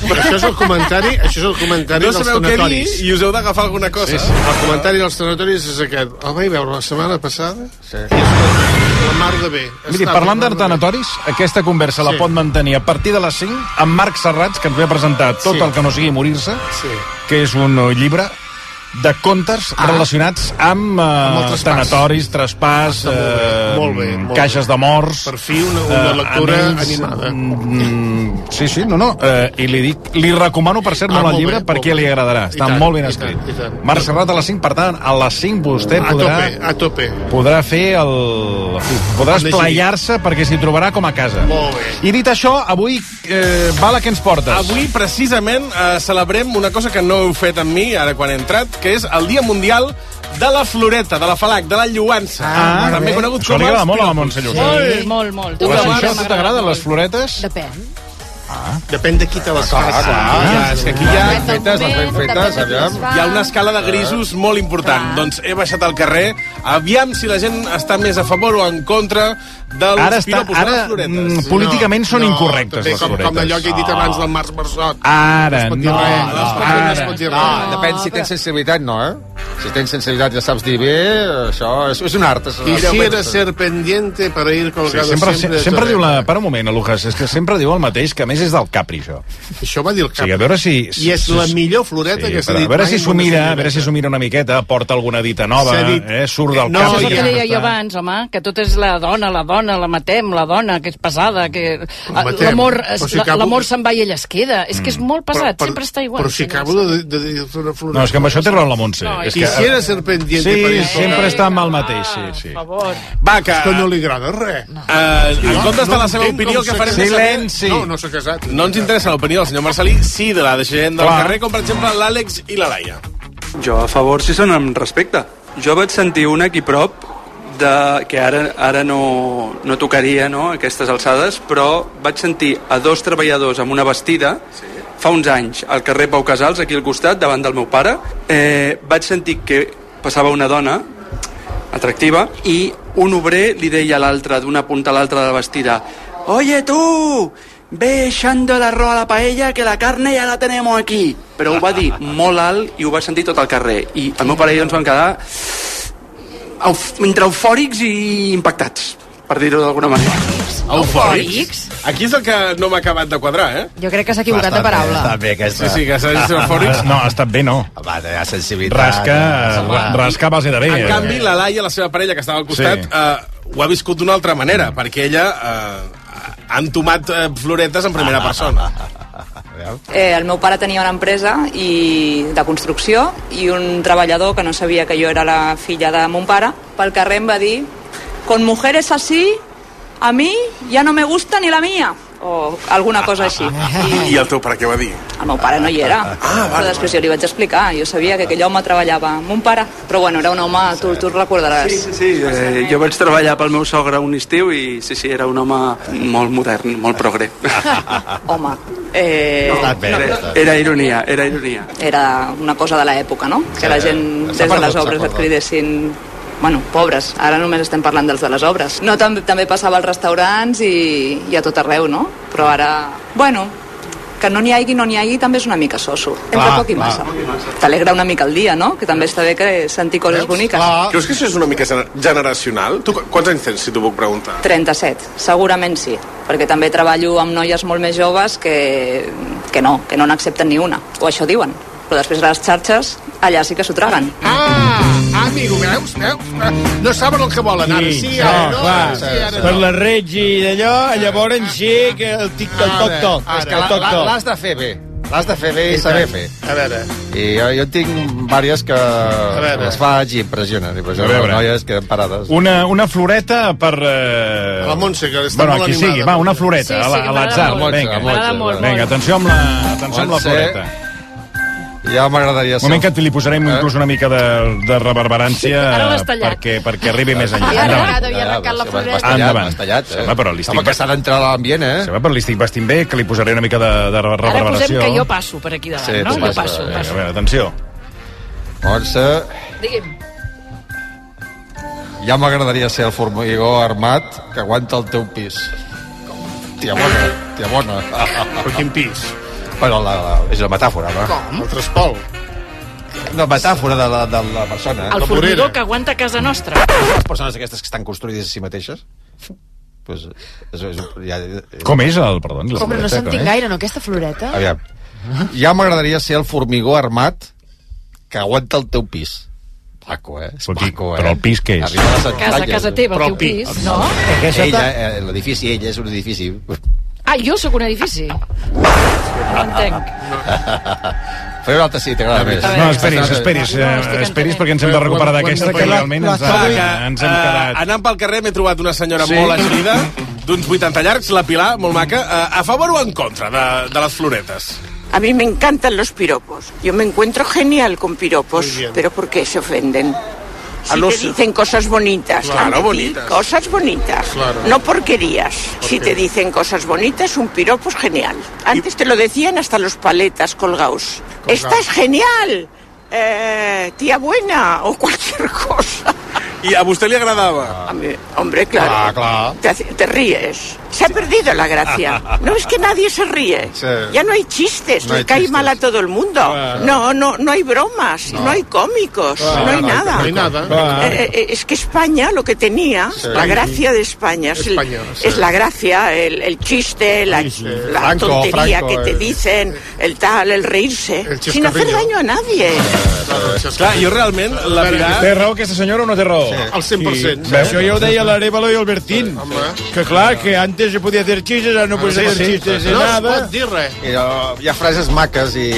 Speaker 18: Però això és el comentari- això és el comentari no dels sabeu què dir tanatoris. i us heu d'agafar alguna cosa. Sí, sí. El comentari dels tanatoris és aquest. El vaig veure la setmana passada sí. i escolta, la mar de bé.
Speaker 20: Miri,
Speaker 18: Està
Speaker 20: parlant
Speaker 18: la mar de bé.
Speaker 20: d'artanatoris, aquesta conversa la
Speaker 18: Sí.
Speaker 20: pot mantenir a partir de les 5 amb Marc Serrats, que ens ve a presentar tot
Speaker 18: Sí.
Speaker 20: el que no sigui morir-se,
Speaker 18: Sí.
Speaker 20: que és un eh, llibre de contes ah. relacionats amb, eh,
Speaker 18: Amb el traspàs.
Speaker 20: tanatoris, traspàs, eh,
Speaker 18: Està molt bé, molt bé, molt bé.
Speaker 20: caixes de morts...
Speaker 18: Per fi una, una
Speaker 20: eh,
Speaker 18: lectura
Speaker 20: anells,
Speaker 18: animada.
Speaker 20: Mm, sí, sí, no, no. Eh, I li dic, li recomano per ser
Speaker 18: Ah,
Speaker 20: molt el
Speaker 18: molt
Speaker 20: llibre
Speaker 18: bé,
Speaker 20: perquè
Speaker 18: molt bé.
Speaker 20: li agradarà.
Speaker 18: I
Speaker 20: Està
Speaker 18: tant,
Speaker 20: molt ben
Speaker 18: i
Speaker 20: escrit.
Speaker 18: tant, i tant.
Speaker 20: Marc Serrat a les 5, per tant, a les 5 vostè
Speaker 18: A
Speaker 20: podrà
Speaker 18: tope, a tope.
Speaker 20: podrà fer el... podrà esplayar-se perquè s'hi trobarà com a casa.
Speaker 18: Molt bé.
Speaker 20: I dit això, avui, eh, Bala, què ens portes?
Speaker 18: Avui, precisament, eh, celebrem una cosa que no heu fet amb mi, ara quan he entrat, que és el Dia Mundial de la Floreta, de la Falac, de la Lluança.
Speaker 20: Ah,
Speaker 18: també
Speaker 20: bé.
Speaker 18: conegut
Speaker 20: Això
Speaker 18: com
Speaker 20: li agrada molt a la
Speaker 18: Pilotos.
Speaker 20: Montse Llucena.
Speaker 21: Sí, molt, molt.
Speaker 20: Però si
Speaker 18: Tomàs,
Speaker 20: això a tu t'agraden les floretes?
Speaker 23: Depèn.
Speaker 18: Ah. Depèn de qui te les
Speaker 10: Ah,
Speaker 18: faci. Ah,
Speaker 10: clar,
Speaker 18: Ja, és que aquí hi ha...
Speaker 10: Les ben fetes, les ben fetes, aviam.
Speaker 18: Hi ha una escala de grisos molt important. Doncs he baixat al carrer. Aviam si la gent està més a favor o en contra dels
Speaker 20: Ara està-
Speaker 18: piropos
Speaker 20: ara,
Speaker 18: de les floretes.
Speaker 20: mm, políticament són incorrectes,
Speaker 18: també,
Speaker 20: les
Speaker 18: com,
Speaker 20: floretes.
Speaker 18: Com allò que he dit
Speaker 20: No.
Speaker 18: abans del Marc Bersot.
Speaker 20: Ara,
Speaker 18: No es pot dir
Speaker 20: no.
Speaker 18: res, no es pot dir- no es
Speaker 20: ara.
Speaker 18: pot dir
Speaker 10: No,
Speaker 18: res.
Speaker 10: depèn si tens sensibilitat, no, eh? Si tens sensibilitat i ja saps dir bé, això és, és un art. És un art.
Speaker 18: Quisiera ser pendiente para ir
Speaker 20: Sí,
Speaker 18: colgado
Speaker 20: sempre, sempre,
Speaker 18: de
Speaker 20: sempre
Speaker 18: torrent.
Speaker 20: diu la... Per un moment, Lucas, és que sempre diu el mateix, que a més és del Capri, això.
Speaker 18: Això va dir el
Speaker 20: Capri. O sigui, a veure si... si
Speaker 18: I és la millor floreta
Speaker 20: Sí,
Speaker 18: que s'ha
Speaker 20: però
Speaker 18: dit
Speaker 20: a veure
Speaker 18: mai
Speaker 20: si
Speaker 18: en
Speaker 20: s'ho
Speaker 18: una
Speaker 20: mira, a
Speaker 18: senyoreta.
Speaker 20: veure si s'ho mira una miqueta, porta alguna dita nova,
Speaker 18: S'ha dit-
Speaker 20: eh, surt del
Speaker 18: No,
Speaker 20: cap.
Speaker 21: Això és el que
Speaker 20: ja
Speaker 21: deia jo
Speaker 20: està.
Speaker 21: abans, home, que tot és la dona, la dona, la matem, la dona, que és pesada, que ah,
Speaker 18: matem.
Speaker 21: l'amor
Speaker 18: Però
Speaker 21: es-
Speaker 18: si acabo- Mm.
Speaker 21: l'amor se'n va i ella es queda. És que és molt pesat, sempre està igual.
Speaker 18: Però si acabo de, de dir una floreta...
Speaker 20: No, és que amb això té raó la Montse.
Speaker 18: No,
Speaker 20: és
Speaker 18: i-
Speaker 20: que...
Speaker 18: Quisiera ser pendiente
Speaker 20: Sí,
Speaker 18: per ir
Speaker 20: sempre
Speaker 18: tocant.
Speaker 20: està amb el mateix, sí, sí.
Speaker 18: Va, que... És que no li agrada res. No. Eh, en comptes de la seva opinió, que farem...
Speaker 20: Silenci.
Speaker 18: No, no s'ha casat. No ens interessa l'opinió del senyor Marcelí, sí de la de gent del
Speaker 20: Clar.
Speaker 18: carrer, com per exemple l'Àlex i la Laia.
Speaker 24: Jo a favor si són amb respecte. Jo vaig sentir un aquí prop de, que ara, ara no, no tocaria no, aquestes alçades, però vaig sentir a dos treballadors amb una vestida sí. fa uns anys al carrer Pau Casals, aquí al costat, davant del meu pare. Eh, vaig sentir que passava una dona atractiva i un obrer li deia a l'altre, d'una punta a l'altra de la vestida, «Oye, tu! Ve echando el arroz a la paella que la carne ya la tenemos aquí!» Però ho va dir molt alt i ho va sentir tot el carrer. I el meu pare i jo ens vam quedar euf entre eufòrics i impactats, per dir-ho d'alguna manera.
Speaker 18: Eufòrics? Aquí és el que no m'ha acabat de quadrar, eh?
Speaker 23: Jo crec que s'ha equivocat de paraula.
Speaker 18: Està bé, aquesta. Sí, sí, que s'ha dit eufòrics.
Speaker 20: (laughs) No, ha estat bé, no.
Speaker 10: Va, de sensibilitat.
Speaker 20: Rasca, rasca a base de bé.
Speaker 18: En canvi, la Laia, la seva parella, que estava al costat,
Speaker 20: Sí.
Speaker 18: eh, ho ha viscut d'una altra manera, perquè ella eh, ha entomat eh, floretes en primera persona.
Speaker 12: Eh, el meu pare tenia una empresa i de construcció i un treballador que no sabia que jo era la filla de mon pare pel carrer em va dir con mujeres así a mi ja no me gusta ni la mía o alguna cosa així.
Speaker 25: I el teu pare què va dir?
Speaker 12: El meu pare no hi era, ah, però després jo li vaig explicar. Jo sabia que aquell home treballava amb mon pare, però bueno, era un home, tu, tu el recordaràs.
Speaker 24: Sí, sí, sí. Eh, jo vaig treballar pel meu sogre un estiu i sí, sí, era un home molt modern, molt progre.
Speaker 12: Home, eh,
Speaker 24: Era, era ironia, era ironia.
Speaker 12: era una cosa de l'època, no? Que
Speaker 24: Sí,
Speaker 12: la gent
Speaker 25: eh?
Speaker 12: des
Speaker 24: s'ha
Speaker 12: de
Speaker 24: perdut,
Speaker 12: les
Speaker 24: s'ha
Speaker 12: obres et
Speaker 24: perdut.
Speaker 12: cridessin bueno, pobres, ara només estem parlant dels de les obres. No, també, també passava als restaurants i, i a tot arreu, no? Però ara, bueno, que no n'hi hagi, no n'hi hagi, també és una mica soso. Entre
Speaker 25: Clar,
Speaker 12: poc i
Speaker 25: clar.
Speaker 12: massa. T'alegra una mica el dia, no? Que també està bé que sentir coses boniques.
Speaker 18: Ah.
Speaker 25: Creus que això és una mica gener- generacional? Tu qu- quants anys tens, si t'ho puc preguntar?
Speaker 12: 37, segurament sí, perquè també treballo amb noies molt més joves que, que no, que no n'accepten ni una, o això diuen. Però després a les xarxes, allà sí que s'ho traguen.
Speaker 18: Ah, amigo, veus? Veus? No saben el que volen, ara sí, ara no,
Speaker 2: clar,
Speaker 18: ara sí, ara no.
Speaker 2: per la reig i d'allò, llavors sí que el tic-toc, toc-toc.
Speaker 10: És que la- la- l'has de fer bé. L'has de fer bé i
Speaker 2: I
Speaker 10: saber
Speaker 2: tant.
Speaker 10: fer.
Speaker 18: A veure...
Speaker 10: I jo, jo tinc diverses que
Speaker 20: veure.
Speaker 10: les faig i impressionen.
Speaker 20: A
Speaker 10: Impressionen
Speaker 20: veure.
Speaker 10: les noies queden parades.
Speaker 20: Una, una floreta per... Eh...
Speaker 18: La Montse, que està
Speaker 20: bueno,
Speaker 18: molt
Speaker 20: aquí
Speaker 18: animada.
Speaker 20: sigui, va, una floreta,
Speaker 18: Sí, sí,
Speaker 20: a
Speaker 18: que
Speaker 20: la- a
Speaker 18: m'agrada
Speaker 20: l'atzar.
Speaker 18: molt.
Speaker 20: Vinga,
Speaker 18: M'agrada molt,
Speaker 20: vinga,
Speaker 18: molt.
Speaker 20: atenció amb la, atenció amb la
Speaker 18: Montse.
Speaker 20: floreta.
Speaker 10: Ja m'agradaria
Speaker 20: Un moment que li posarem eh? inclús una mica de, de reverberància
Speaker 21: Sí, ara l'has tallat.
Speaker 20: perquè, perquè arribi més enllà.
Speaker 21: Havia
Speaker 20: Endavant.
Speaker 21: arrencat, havia arrencat la floreta.
Speaker 10: tallat,
Speaker 20: Endavant.
Speaker 10: m'has tallat, eh?
Speaker 20: Sí, home, però li estic...
Speaker 10: Home, que s'ha d'entrar a l'ambient, eh?
Speaker 20: Sí, home, però li estic vestint bé, que li posaré una mica de, de
Speaker 21: Ara posem
Speaker 20: reverberació.
Speaker 21: que jo passo per aquí davant,
Speaker 20: Sí,
Speaker 21: no?
Speaker 20: tu
Speaker 21: Jo
Speaker 20: passa,
Speaker 21: passo,
Speaker 20: vinga, A
Speaker 21: passo.
Speaker 20: veure, atenció.
Speaker 10: Montse,
Speaker 21: Digui'm.
Speaker 10: ja m'agradaria ser el formigó armat que aguanta el teu pis. Tia bona, tia bona. Però
Speaker 18: quin pis?
Speaker 10: Bueno, la, la, és la metàfora, no?
Speaker 18: Com? El trespol.
Speaker 10: Una metàfora de la, de la persona.
Speaker 18: Ah,
Speaker 21: El formigó que aguanta casa nostra.
Speaker 10: les persones aquestes que estan construïdes a si mateixes? Pues, és, és, ja,
Speaker 20: Com és el, perdó?
Speaker 23: Oh, però no
Speaker 20: eh?
Speaker 23: s'entén gaire, no, aquesta floreta?
Speaker 10: Aviam. Ja m'agradaria ser el formigó armat que aguanta el teu pis. Paco, eh? És paco, eh? Però el
Speaker 20: pis què
Speaker 10: és? Arriba a les
Speaker 21: Casa,
Speaker 10: entranyes.
Speaker 21: casa teva, el teu pis, no?
Speaker 10: Ella,
Speaker 21: Aquesta-
Speaker 10: eh, l'edifici, ella és un edifici.
Speaker 21: Ah, jo sóc un edifici.
Speaker 18: Ah,
Speaker 21: No
Speaker 10: (laughs)
Speaker 21: entenc.
Speaker 10: Faré una altra si t'agrada més.
Speaker 20: No, esperis, esperis, eh, esperis perquè ens hem de recuperar d'aquesta que realment ens, ha, ens hem quedat.
Speaker 18: Uh, anant pel carrer m'he trobat una senyora
Speaker 20: Sí.
Speaker 18: sí. molt agilida, d'uns 80 llargs, la Pilar, molt maca. Uh, a favor o en contra de, de les floretes?
Speaker 26: A mí me encantan los piropos. Yo me encuentro genial con piropos,
Speaker 18: Muy bien.
Speaker 26: pero ¿por qué se ofenden? Si
Speaker 18: Ah, no
Speaker 26: te
Speaker 18: sé.
Speaker 26: dicen cosas bonitas,
Speaker 18: Claro,
Speaker 26: a ti,
Speaker 18: bonitas.
Speaker 26: cosas bonitas,
Speaker 18: Claro.
Speaker 26: no porquerías. Si
Speaker 18: qué?
Speaker 26: te dicen cosas bonitas, un piropo es genial. Antes te lo decían hasta los paletas colgaos. ¡Estás genial! eh, tía buena o cualquier cosa.
Speaker 18: I a vostè li agradava?
Speaker 26: A mi, hombre, claro.
Speaker 20: Ah,
Speaker 18: Clar, clar.
Speaker 26: Te, hace- te ríes. Se ha perdido la
Speaker 18: (laughs)
Speaker 26: gracia. No es que nadie se ríe.
Speaker 18: Sí.
Speaker 26: Ya no hay chistes.
Speaker 18: No
Speaker 26: le
Speaker 18: hay
Speaker 26: cae
Speaker 18: chistes.
Speaker 26: mal a todo el mundo.
Speaker 18: Claro.
Speaker 26: No, no, no hay bromas. No,
Speaker 18: No.
Speaker 26: hay cómicos.
Speaker 18: Claro,
Speaker 26: no hay
Speaker 18: no hay
Speaker 26: nada.
Speaker 18: cómicos. No hay nada. Claro.
Speaker 26: Eh, eh, es que España lo que tenía,
Speaker 18: Sí.
Speaker 26: la gracia de España, es, el-
Speaker 18: España, sí.
Speaker 26: es la gracia, el, el chiste, la, la
Speaker 18: Franco,
Speaker 26: tontería
Speaker 18: Franco,
Speaker 26: que te
Speaker 18: el-
Speaker 26: dicen, el tal, el reírse, sin hacer
Speaker 18: chascarrillo.
Speaker 26: daño a nadie.
Speaker 18: Clar, jo realment la Pilar...
Speaker 2: Té raó aquesta senyora o no té raó? Sí.
Speaker 18: Al 100%.
Speaker 2: I, això ja ho deia l'Arevalo i el Bertín. Que clar, que antes se podia fer xistes, ara no podia
Speaker 18: Sí,
Speaker 2: fer
Speaker 18: sí.
Speaker 2: xistes de
Speaker 18: No es
Speaker 2: nada.
Speaker 18: pot dir res.
Speaker 10: I, uh, hi ha frases maques i...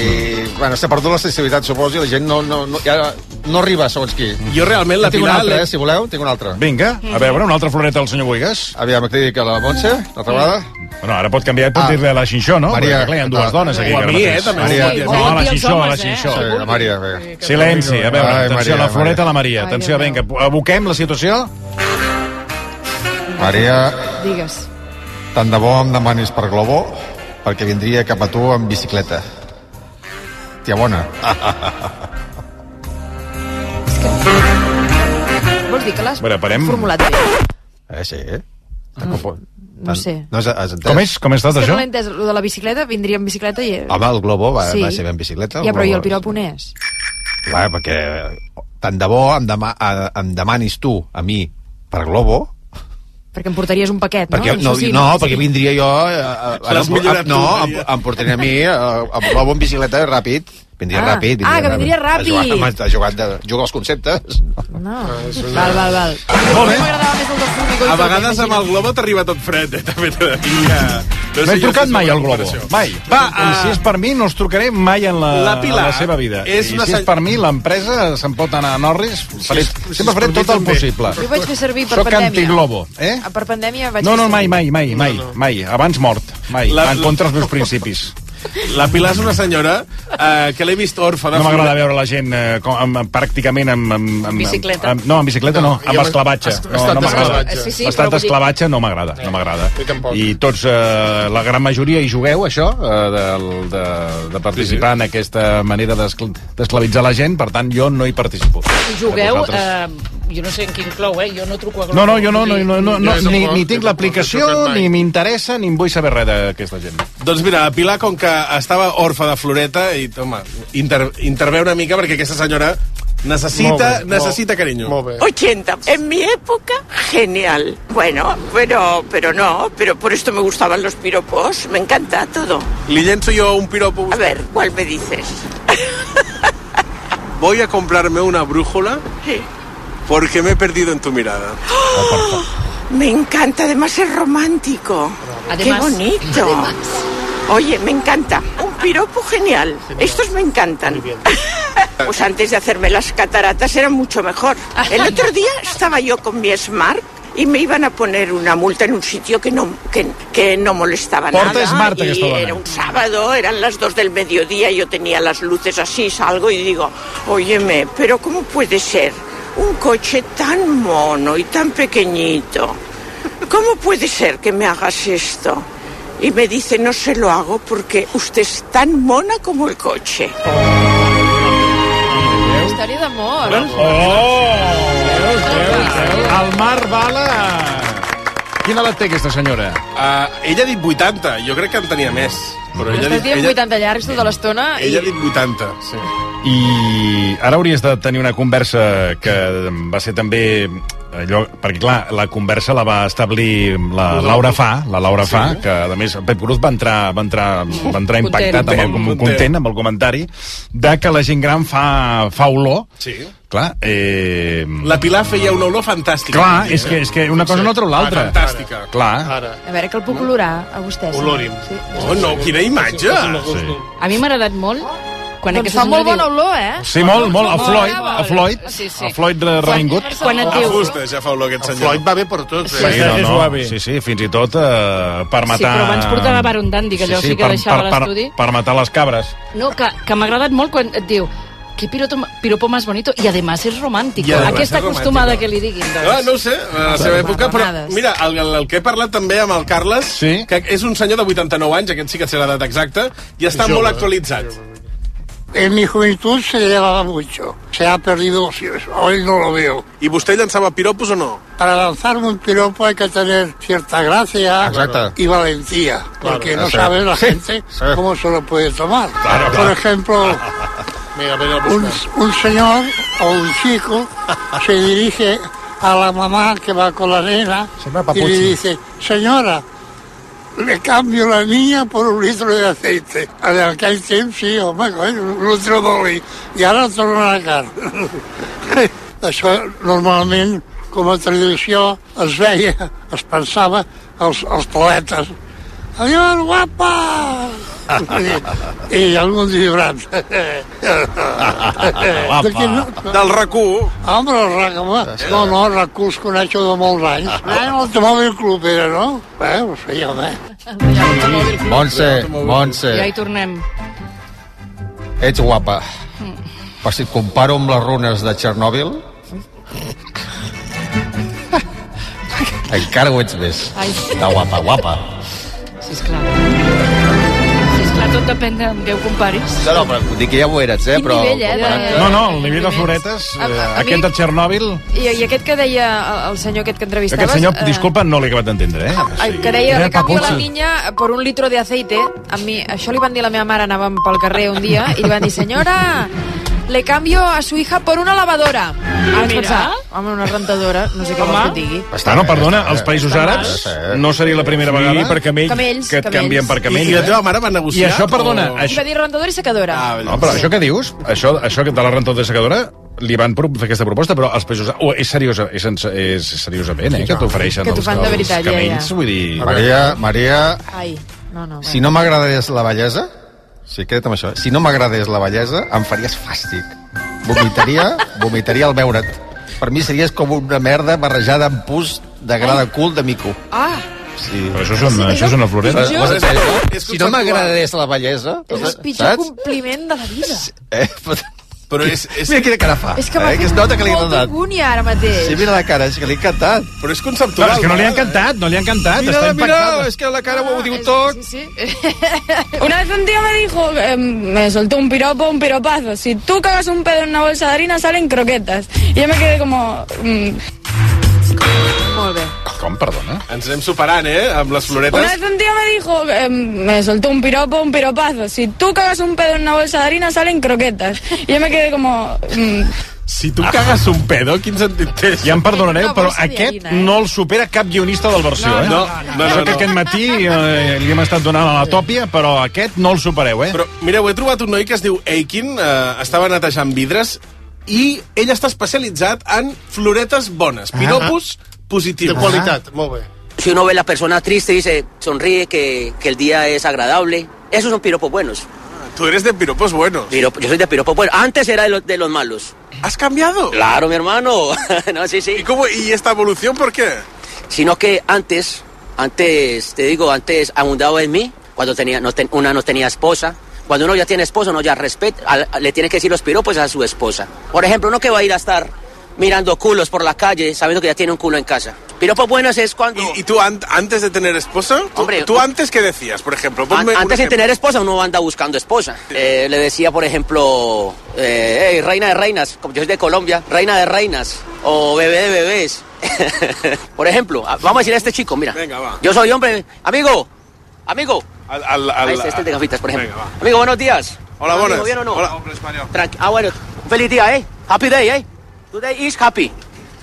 Speaker 10: Bueno, s'ha perdut la sensibilitat, suposo, i la gent no, no, no, ja, no arriba, segons qui.
Speaker 18: Jo realment la
Speaker 10: Jo tinc
Speaker 18: Pilar
Speaker 10: Una altra,
Speaker 18: l'he-
Speaker 10: eh, si voleu, tinc una altra.
Speaker 20: Vinga, a veure, una altra floreta al senyor Buigas.
Speaker 10: Aviam, que dic a la Montse, una altra vegada.
Speaker 20: Bueno, ara pot canviar i pot
Speaker 10: Ah.
Speaker 20: dir-li a la Xinxó, no?
Speaker 10: Maria,
Speaker 20: Perquè, clar, hi ha
Speaker 10: ah,
Speaker 20: dues dones aquí.
Speaker 10: o a
Speaker 20: ara
Speaker 10: mi,
Speaker 20: mateix.
Speaker 10: eh, també. Maria. Sí,
Speaker 20: no, a la
Speaker 10: sí,
Speaker 20: Xinxó, a la
Speaker 10: els homes, eh?
Speaker 20: Xinxó.
Speaker 10: Sí, la Maria, bé.
Speaker 20: Silenci, a veure,
Speaker 10: Ai,
Speaker 20: atenció,
Speaker 10: Maria,
Speaker 20: la
Speaker 10: Maria.
Speaker 20: floreta a la Maria. Atenció, vinga, aboquem la situació.
Speaker 10: Maria,
Speaker 23: Digues.
Speaker 10: tant de bo em demanis per Globo, perquè vindria cap a tu en bicicleta. Tia bona.
Speaker 23: Vols dir que l'has
Speaker 10: Bueno, parem.
Speaker 23: formulat bé?
Speaker 10: Eh, sí, eh?
Speaker 23: No sé.
Speaker 10: No has, has com és? Com
Speaker 23: Ah. És que no l'he entès. Lo de la bicicleta, vindria amb bicicleta i...
Speaker 20: Ah,
Speaker 10: Home, el Globo va,
Speaker 23: Sí.
Speaker 10: va ser ben bicicleta.
Speaker 23: ja, però i el
Speaker 10: Globo.
Speaker 23: piropo on és?
Speaker 10: Clar, perquè eh, tant de bo em, dema eh, em demanis tu a mi per Globo,
Speaker 23: Perquè em portaries un paquet, no?
Speaker 10: perquè, no,
Speaker 23: Això sí,
Speaker 10: no, perquè vindria jo... eh, A, a,
Speaker 20: L'has millorat tu,
Speaker 10: no, em,
Speaker 20: Maria.
Speaker 10: em portaria a mi eh, amb Globo en bicicleta ràpid. Vindria
Speaker 23: Ah.
Speaker 10: ràpid.
Speaker 23: Ah, que vindria
Speaker 10: A
Speaker 23: ràpid.
Speaker 10: jugar, a jugar, de, jugar els conceptes.
Speaker 23: No. Val, val, val.
Speaker 20: Molt bé.
Speaker 23: M'agradava més el del formigó i
Speaker 18: A
Speaker 23: tot,
Speaker 18: vegades
Speaker 23: imagina't.
Speaker 18: amb el globo t'arriba tot fred, eh? També t'he de dir que...
Speaker 20: No
Speaker 18: sé
Speaker 20: he
Speaker 18: jo
Speaker 20: trucat
Speaker 18: si
Speaker 20: mai
Speaker 18: és
Speaker 20: al
Speaker 18: una
Speaker 20: Globo,
Speaker 18: comparació.
Speaker 20: mai.
Speaker 18: Va,
Speaker 20: I si és per mi, no els trucaré mai en la,
Speaker 18: Ah. La Pilar
Speaker 20: en la seva vida.
Speaker 18: és
Speaker 20: I
Speaker 18: una
Speaker 20: si és
Speaker 18: sen-
Speaker 20: per mi, l'empresa se'n pot anar a Norris, faré, sempre faré
Speaker 18: per mi
Speaker 20: tot el
Speaker 18: també.
Speaker 20: possible.
Speaker 23: Jo vaig fer servir per
Speaker 20: Sóc
Speaker 23: pandèmia. Ah,
Speaker 20: antiglobo, eh?
Speaker 23: Per pandèmia vaig
Speaker 20: No, no,
Speaker 23: fer servir.
Speaker 20: mai, mai, mai, mai, mai. Abans mort, mai.
Speaker 18: La-
Speaker 20: En contra els meus principis.
Speaker 18: La Pilar és una senyora eh, que l'he vist orfa de
Speaker 20: No m'agrada
Speaker 18: flor-
Speaker 20: veure la gent eh, com, amb, amb, pràcticament amb... amb, amb
Speaker 18: bicicleta.
Speaker 20: Amb, no, amb bicicleta no,
Speaker 18: No, i
Speaker 20: amb
Speaker 18: amb
Speaker 20: esclavatge.
Speaker 18: es-
Speaker 20: No,
Speaker 18: estat
Speaker 20: no m'agrada.
Speaker 18: d'esclavatge. Sí, sí, però
Speaker 20: Estat
Speaker 18: vull dir-
Speaker 20: d'esclavatge no m'agrada, no m'agrada.
Speaker 18: tampoc.
Speaker 20: I tots, eh, la gran majoria hi jugueu, això, eh, de, de, de participar en aquesta manera d'escl- d'esclavitzar la gent, per tant, jo no hi participo.
Speaker 21: I Jugueu,
Speaker 20: Vosaltres.
Speaker 21: eh, jo no sé en quin clou, eh? Jo no truco a Globo.
Speaker 20: No, no, jo no, no, no, no, no
Speaker 18: Jo
Speaker 20: ni,
Speaker 18: tampoc,
Speaker 20: ni
Speaker 18: jo
Speaker 20: tinc
Speaker 18: tampoc,
Speaker 20: l'aplicació,
Speaker 18: no he
Speaker 20: ni m'interessa, ni em vull saber res d'aquesta gent.
Speaker 18: Doncs mira, la Pilar, com que estava orfa de floreta, i, home, inter, intervé una mica perquè aquesta senyora necessita,
Speaker 26: Molt bé,
Speaker 18: necessita carinyo. Molt bé.
Speaker 26: 80. En mi época, genial. Bueno, pero, pero no, pero por esto me gustaban los piropos, me encanta todo.
Speaker 18: Li llenço jo un piropo.
Speaker 26: A ver, ¿cuál me dices?
Speaker 18: Voy a comprarme una brújula
Speaker 26: Sí.
Speaker 18: porque me he perdido en tu mirada.
Speaker 26: Me encanta, además es romántico.
Speaker 21: Además.
Speaker 26: Qué bonito.
Speaker 21: Además.
Speaker 26: Oye, me encanta. Un piropo genial. Estos me encantan. (laughs) Pues antes de hacerme las cataratas era mucho mejor. El
Speaker 21: (laughs)
Speaker 26: otro día estaba yo con mi Smart y me iban a poner una multa en un sitio que no, que, que no molestaba
Speaker 20: Porta
Speaker 26: nada.
Speaker 20: Smart,
Speaker 26: y
Speaker 20: aquesta dona.
Speaker 26: era un sábado, eran las dos del mediodía, yo tenía las luces así, salgo y digo, óyeme, pero ¿cómo puede ser un coche tan mono y tan pequeñito? ¿Cómo puede ser que me hagas esto? Y me dice, no se lo hago porque usted es tan mona como el coche.
Speaker 23: Història d'amor. Oh!
Speaker 20: Oh! El Mar Bala... Quina edat té aquesta senyora?
Speaker 18: Uh, ella ha dit 80, jo crec que en tenia més. Però ella, ha dit,
Speaker 23: Estàs dient
Speaker 18: ella,
Speaker 23: 80 llargs tota l'estona i...
Speaker 18: ella ha dit 80, sí.
Speaker 20: I ara hauries de tenir una conversa que va ser també allò, perquè clar, la conversa la va establir la Laura Fa, la Laura Fa, que a més Pep Cruz va entrar, va entrar, va entrar
Speaker 18: Content.
Speaker 20: impactat amb el,
Speaker 18: Content.
Speaker 20: content. content amb el comentari de que la gent gran fa, fa olor.
Speaker 18: Sí.
Speaker 20: Clar, eh...
Speaker 18: La Pilar feia una olor fantàstica.
Speaker 20: Clar, és que, és que una cosa no treu l'altra.
Speaker 18: Ah, fantàstica.
Speaker 20: Clar.
Speaker 18: Ara.
Speaker 23: A veure, que el puc olorar a vostès.
Speaker 18: Olorim.
Speaker 23: Sí.
Speaker 18: Oh, no, quina imatge! Sí.
Speaker 21: A mi m'ha agradat molt quan
Speaker 23: Doncs
Speaker 21: aquesta
Speaker 23: fa molt
Speaker 21: senyora
Speaker 23: bona
Speaker 21: diu-
Speaker 23: olor, eh?
Speaker 20: Sí, molt, molt. A Floyd, a Floyd,
Speaker 21: Ah, doncs. Sí, sí.
Speaker 20: a Floyd eh, revingut.
Speaker 21: Quan et
Speaker 18: La
Speaker 21: diu...
Speaker 18: fusta ja fa olor aquest senyor. Floyd va bé per eh? tot.
Speaker 20: Sí, no, no. sí, sí, fins i tot eh, per matar...
Speaker 21: Sí, però abans portava Baron Dandy, que allò sí que deixava l'estudi.
Speaker 20: Per, per matar les cabres.
Speaker 21: No, que, que m'ha agradat molt quan et diu que piropo, piropo más bonito i además és romàntic.
Speaker 18: I además és
Speaker 21: Aquesta
Speaker 18: romàntico.
Speaker 21: acostumada que li diguin, doncs.
Speaker 18: Ah, no ho sé, a la seva època, però mira, el, el, el que he parlat també amb el Carles, sí? que és un senyor de 89 anys, aquest sí que té l'edat exacta, i està
Speaker 17: Jove.
Speaker 18: molt actualitzat.
Speaker 17: En mi juventud se llevaba mucho. Se ha perdido, sí, hoy no lo veo.
Speaker 18: I vostè llançava piropos o no?
Speaker 17: Para lanzar un piropo hay que tener cierta gracia
Speaker 18: Exacto.
Speaker 17: y valentía, porque no
Speaker 18: exacto.
Speaker 17: sabe la
Speaker 18: Sí,
Speaker 17: gente cómo se lo puede tomar.
Speaker 18: Claro,
Speaker 17: Por
Speaker 18: claro.
Speaker 17: ejemplo,
Speaker 18: Mira, mira,
Speaker 17: un, un señor o un chico se dirige a la mamá que va con la nena y le papuchi. dice, señora, le cambio la niña por un litro de aceite. En aquell temps, sí, home, coi, un litro d'oli. I ara torna a la (laughs) carn. Això normalment, com a tradició, es veia, es pensava, els, els poetes. Adiós, guapa! Eh, I, i algun
Speaker 18: (laughs)
Speaker 17: vibrant.
Speaker 18: Guapa.
Speaker 17: De quin- Ah,
Speaker 18: Del racó.
Speaker 17: Home, el rac, home. No, Eh, no, el rac us coneixo de molts anys. Ah, en l'automòbil club era, no? Bé, ho sé, home.
Speaker 10: Montse, Montse,
Speaker 21: Ja hi tornem.
Speaker 10: ets guapa. Però si et comparo amb les runes de Txernòbil... encara ho ets més.
Speaker 21: Ai.
Speaker 10: De guapa, guapa.
Speaker 21: Sisplau. Sisplau, tot depèn de amb què ho comparis.
Speaker 10: No, no, però dic que ja ho eres, eh?
Speaker 21: Quin
Speaker 10: però...
Speaker 21: nivell, eh, de-
Speaker 20: No, no, el nivell de floretes,
Speaker 23: A- a-
Speaker 20: eh,
Speaker 23: a mi-
Speaker 20: aquest de Txernòbil...
Speaker 23: I, I aquest que deia el- el senyor aquest que entrevistaves...
Speaker 20: Aquest senyor,
Speaker 23: eh,
Speaker 20: disculpa, no l'he acabat d'entendre, eh?
Speaker 21: Ah.
Speaker 23: el Que deia,
Speaker 20: Era
Speaker 23: de canvi a la
Speaker 20: papucho.
Speaker 23: niña por un litro de aceite. A mi, això li van dir a la meva mare, anàvem pel carrer un dia, i li van dir, senyora, le cambio a su hija por una lavadora. Ara
Speaker 21: mira.
Speaker 23: pensar, home, una rentadora, no sé què vols que et digui.
Speaker 20: Està, no, perdona,
Speaker 18: Eh,
Speaker 20: als països àrabs no seria la primera vegada per camells,
Speaker 23: Camells,
Speaker 20: que et
Speaker 23: camells.
Speaker 20: canvien per camells.
Speaker 18: I la
Speaker 20: eh?
Speaker 18: teva mare va negociar?
Speaker 20: I això, perdona,
Speaker 18: o-
Speaker 23: I
Speaker 20: això,
Speaker 23: va dir rentadora i secadora. Ah,
Speaker 20: no, però això que dius, això, això de la rentadora secadora, li van pro- fer aquesta proposta, però els països... Oh, és, seriosa, és, ens- és seriosament, eh, que t'ofereixen
Speaker 23: Que t'ho
Speaker 20: els,
Speaker 23: fan de
Speaker 20: els
Speaker 23: veritat, ja,
Speaker 20: camells,
Speaker 23: ja.
Speaker 20: vull dir...
Speaker 10: Maria, Maria,
Speaker 23: Ai, no, no.
Speaker 10: Si no m'agradés la bellesa... Sí, queda't amb això. eh? Si no m'agradés la bellesa, em faries fàstic. Vomitaria, vomitaria al veure't. Per mi series com una merda barrejada amb pus de gra de cul de mico.
Speaker 23: Ah,
Speaker 10: Sí.
Speaker 20: Però això és una, això és una floreta.
Speaker 10: Eh,
Speaker 20: Però,
Speaker 10: eh, Si no m'agradés la bellesa... doncs,
Speaker 23: és el pitjor compliment de la vida.
Speaker 10: Eh? Però és, és... Mira quina cara fa.
Speaker 23: És que m'ha
Speaker 10: eh? que es
Speaker 23: fet
Speaker 10: nota que li ha
Speaker 23: molta
Speaker 10: agradat.
Speaker 23: angúnia ara mateix.
Speaker 10: Sí, mira la cara, és que li ha encantat. Però és conceptual.
Speaker 20: és que no li ha encantat, no li ha encantat,
Speaker 10: Mira,
Speaker 20: està
Speaker 10: mira,
Speaker 20: impactada.
Speaker 10: és que la cara ho diu tot.
Speaker 23: Ah, Sí,
Speaker 9: (laughs) Una vez un tío me dijo, eh, me soltó un piropo, un piropazo. Si tú cagas un pedo en una bolsa de harina, salen croquetas. Y yo me quedé como... mm.
Speaker 23: Molt bé.
Speaker 20: Com, perdona?
Speaker 18: Ens anem superant, eh, amb les
Speaker 9: Una
Speaker 18: floretes.
Speaker 9: vez un tío me dijo, eh, me soltó un piropo, un piropazo. Si tú cagas un pedo en una bolsa de harina, salen croquetas. Y yo me quedé como... mm.
Speaker 20: Si tu cagues un pedo, quin sentit té? Ja em perdonareu,
Speaker 9: Una
Speaker 20: però
Speaker 9: bossa de
Speaker 20: aquest
Speaker 9: harina, eh?
Speaker 20: no el supera cap guionista del versió,
Speaker 18: No,
Speaker 20: eh?
Speaker 18: no, no, no, no.
Speaker 20: Això
Speaker 18: no,
Speaker 20: que
Speaker 18: no.
Speaker 20: aquest matí eh, li hem estat donant a la tòpia, però aquest no el supereu, eh?
Speaker 18: Però, mireu, he trobat un noi que es diu Eikin, eh, estava netejant vidres, i ell està especialitzat en floretes
Speaker 20: Ah.
Speaker 18: bones, piropos positius.
Speaker 3: De qualitat,
Speaker 18: Ah. molt bé.
Speaker 3: Si uno ve a las personas tristes, dice, sonríe, que, que el día es agradable. Esos son piropos buenos.
Speaker 18: Ah, Tú eres de piropos buenos.
Speaker 3: yo soy de piropos buenos. Antes era de los, de los malos.
Speaker 18: ¿Has cambiado?
Speaker 3: Claro, mi hermano. (laughs) no, sí, sí. ¿Y,
Speaker 18: cómo, ¿Y esta evolución por qué?
Speaker 3: Sino que antes, antes, te digo, antes abundaba en mí, cuando tenía, no ten- una no tenía esposa. Cuando uno ya tiene esposa, uno ya respeta, al- le tiene que decir los piropos a su esposa. Por ejemplo, uno que va a ir a estar mirando culos por la calle, sabiendo que ya tiene un culo en casa. Piropos buenos es cuando...
Speaker 18: ¿Y tú an- antes de tener esposa? ¿Tú,
Speaker 3: Hombre,
Speaker 18: tú antes qué decías, por ejemplo? Ponme
Speaker 3: An-
Speaker 18: un
Speaker 3: antes de
Speaker 18: ejemplo.
Speaker 3: tener esposa, uno anda buscando esposa. Eh, le decía, por ejemplo, eh, "Ey, reina de reinas, como yo soy de Colombia, reina de reinas, o bebé de bebés. (laughs) por ejemplo, a- vamos a decir a este chico, mira,
Speaker 18: Venga, va.
Speaker 3: yo soy hombre, amigo, amigo.
Speaker 18: Al- al- al-
Speaker 3: Ah, este, este es de gafitas, por ejemplo.
Speaker 18: Venga, va.
Speaker 3: amigo, buenos días.
Speaker 18: Hola,
Speaker 3: Amigo,
Speaker 18: buenas.
Speaker 3: ¿bien o no?
Speaker 18: Hola.
Speaker 3: Tranqui- ah, bueno, un feliz día, ¿eh? Happy day, ¿eh? Today is happy.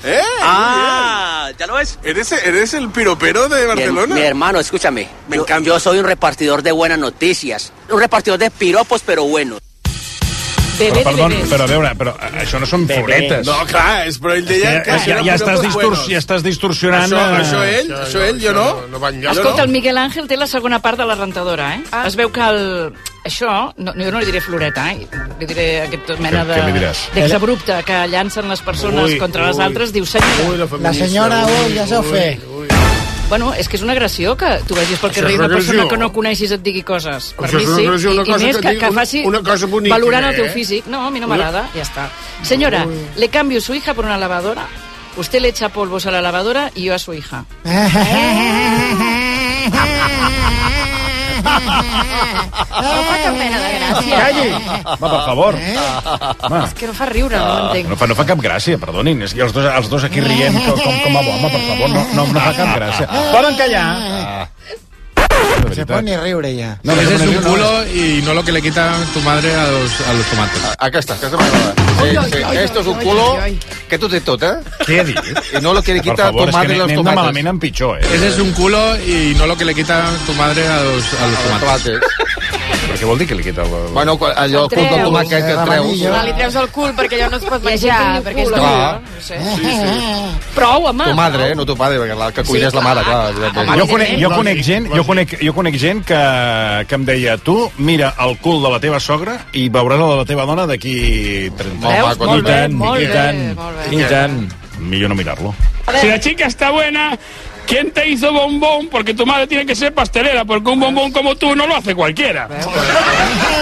Speaker 18: ¿Eh?
Speaker 3: Ah, ¿ya lo ves?
Speaker 18: ¿Eres, eres el piropero de
Speaker 3: Mi her-
Speaker 18: Barcelona?
Speaker 3: Mi, hermano, escúchame.
Speaker 18: Me
Speaker 3: yo,
Speaker 18: encanta.
Speaker 3: yo soy un repartidor de buenas noticias. Un repartidor de piropos, pero buenos.
Speaker 20: Però, perdó, però a veure, però eh, això no són floretes.
Speaker 18: No, clar, és, però ell deia
Speaker 20: Ja,
Speaker 18: que... això
Speaker 20: ja,
Speaker 18: era
Speaker 20: ja, estàs
Speaker 18: piropos
Speaker 20: distors,
Speaker 18: buenos.
Speaker 20: ja estàs distorsionant...
Speaker 18: Això,
Speaker 20: eh,
Speaker 18: això ell, això, ell, jo no. No va enlloc.
Speaker 21: Escolta, el Miguel Ángel té la segona part de la rentadora, eh?
Speaker 19: Ah.
Speaker 21: Es veu que el... Això, no, jo no li diré floreta, eh? Li diré aquest mena
Speaker 20: Què-
Speaker 21: de...
Speaker 20: què li diràs?
Speaker 21: D'exabrupte que llancen les persones
Speaker 20: Ui,
Speaker 21: contra les
Speaker 20: ui.
Speaker 21: altres, diu senyora.
Speaker 19: La senyora, ui, ja s'ho fe.
Speaker 21: Bueno, és que és una agressió que tu vagis pel
Speaker 19: Això
Speaker 21: carrer
Speaker 19: és
Speaker 21: i una
Speaker 19: una
Speaker 21: persona
Speaker 19: agressió.
Speaker 21: que no coneixis et digui coses. Per
Speaker 19: Això
Speaker 21: mi
Speaker 19: és una
Speaker 21: sí,
Speaker 19: agressió, una
Speaker 21: i,
Speaker 19: cosa
Speaker 21: i més
Speaker 19: que
Speaker 21: que,
Speaker 19: digui
Speaker 21: que
Speaker 19: un-
Speaker 21: faci
Speaker 19: una cosa boníssima,
Speaker 21: valorant el teu
Speaker 19: eh?
Speaker 21: físic. No, a mi no
Speaker 19: Una-
Speaker 21: m'agrada, ja està. Senyora, le cambio su hija por una lavadora. Usted le echa polvos a la lavadora y yo a su hija.
Speaker 23: Home, que pena de gràcia.
Speaker 20: Calli! Va, per favor. Va. Ah,
Speaker 23: És que no fa riure, no ho entenc.
Speaker 20: No fa, no fa cap gràcia, perdonin. És que els dos, els dos aquí rient com, com, com a bomba, per favor. No, no, no fa cap gràcia. Poden callar.
Speaker 19: Se pone a riure ja.
Speaker 7: No, ese es un culo y no lo que le quita tu madre a los, a los tomates.
Speaker 10: Acá está, acá está. Sí, sí. Esto es un culo que tú te tot, eh?
Speaker 20: Què ha dit?
Speaker 10: I no lo que le
Speaker 20: Per
Speaker 10: quita
Speaker 20: favor,
Speaker 10: tu
Speaker 20: és que
Speaker 10: madre
Speaker 20: anem-
Speaker 10: los
Speaker 20: anem de
Speaker 10: tomates.
Speaker 20: malament en pitjor, eh?
Speaker 7: Ese es un culo y no lo que le quita tu madre a los, a los tomates.
Speaker 20: Però què vol dir que li quita el...
Speaker 10: Bueno, quan- allò, el cul del tomàquet que et treus.
Speaker 23: Va, li treus el cul
Speaker 10: (laughs)
Speaker 23: perquè allò no es pot
Speaker 21: Hi ha gent
Speaker 23: menjar,
Speaker 21: que diu
Speaker 23: perquè és
Speaker 10: cul,
Speaker 23: dur.
Speaker 10: eh?
Speaker 23: No sé.
Speaker 21: Prou, home.
Speaker 10: Tu madre, eh? No tu padre, perquè la que cuina és la mare, clar.
Speaker 20: Ah, Jo conec, jo conec gent, jo conec, jo conec gent que, que em deia tu mira el cul de la teva sogra i veuràs el de la teva dona d'aquí 30
Speaker 7: Veus?
Speaker 20: Home, quan-
Speaker 7: Molt bé, molt bé, molt bé.
Speaker 20: Millor no mirar-lo.
Speaker 7: Si la chica está buena,
Speaker 27: ¿Quién te hizo bombón? Porque tu madre tiene que ser pastelera, porque un bombón como tú no lo hace cualquiera.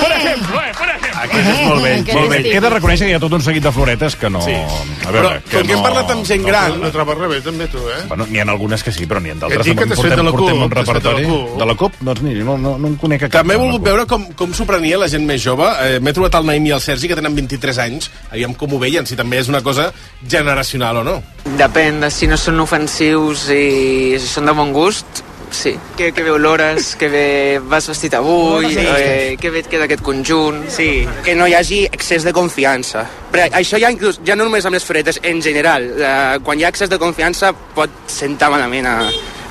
Speaker 27: Por ejemplo, eh, por ejemplo.
Speaker 20: És
Speaker 18: Ah,
Speaker 20: molt vell, molt vell. He de reconèixer que hi ha tot un seguit de floretes que no... Sí. A
Speaker 18: Però,
Speaker 20: veure,
Speaker 18: com que hem parlat amb gent gran... No trobes res bé, també, tu, eh?
Speaker 20: Bueno, n'hi ha algunes que sí, però n'hi ha d'altres.
Speaker 18: Que et dic que t'has fet de la
Speaker 20: portem
Speaker 18: CUP,
Speaker 20: un
Speaker 18: t'has fet de la
Speaker 20: repertori.
Speaker 18: CUP.
Speaker 20: De la CUP? Doncs mira, no, no, no en conec a cap.
Speaker 18: També he
Speaker 20: de la
Speaker 18: volgut
Speaker 20: CUP.
Speaker 18: veure com, com s'ho prenia la gent més jove. Eh, M'he trobat el Naim i el Sergi, que tenen 23 anys. Aviam com ho veien, si també és una cosa generacional o no.
Speaker 13: Depèn de si no són ofensius i si són de bon gust, sí. Que, que bé olores, que bé vas vestit avui,
Speaker 28: Sí.
Speaker 13: sí. eh, que bé et queda aquest conjunt... Sí.
Speaker 28: que no hi hagi excés de confiança. Però això ja, inclús, ja no només amb les fretes, en general. Eh, quan hi ha excés de confiança pot sentar malament a,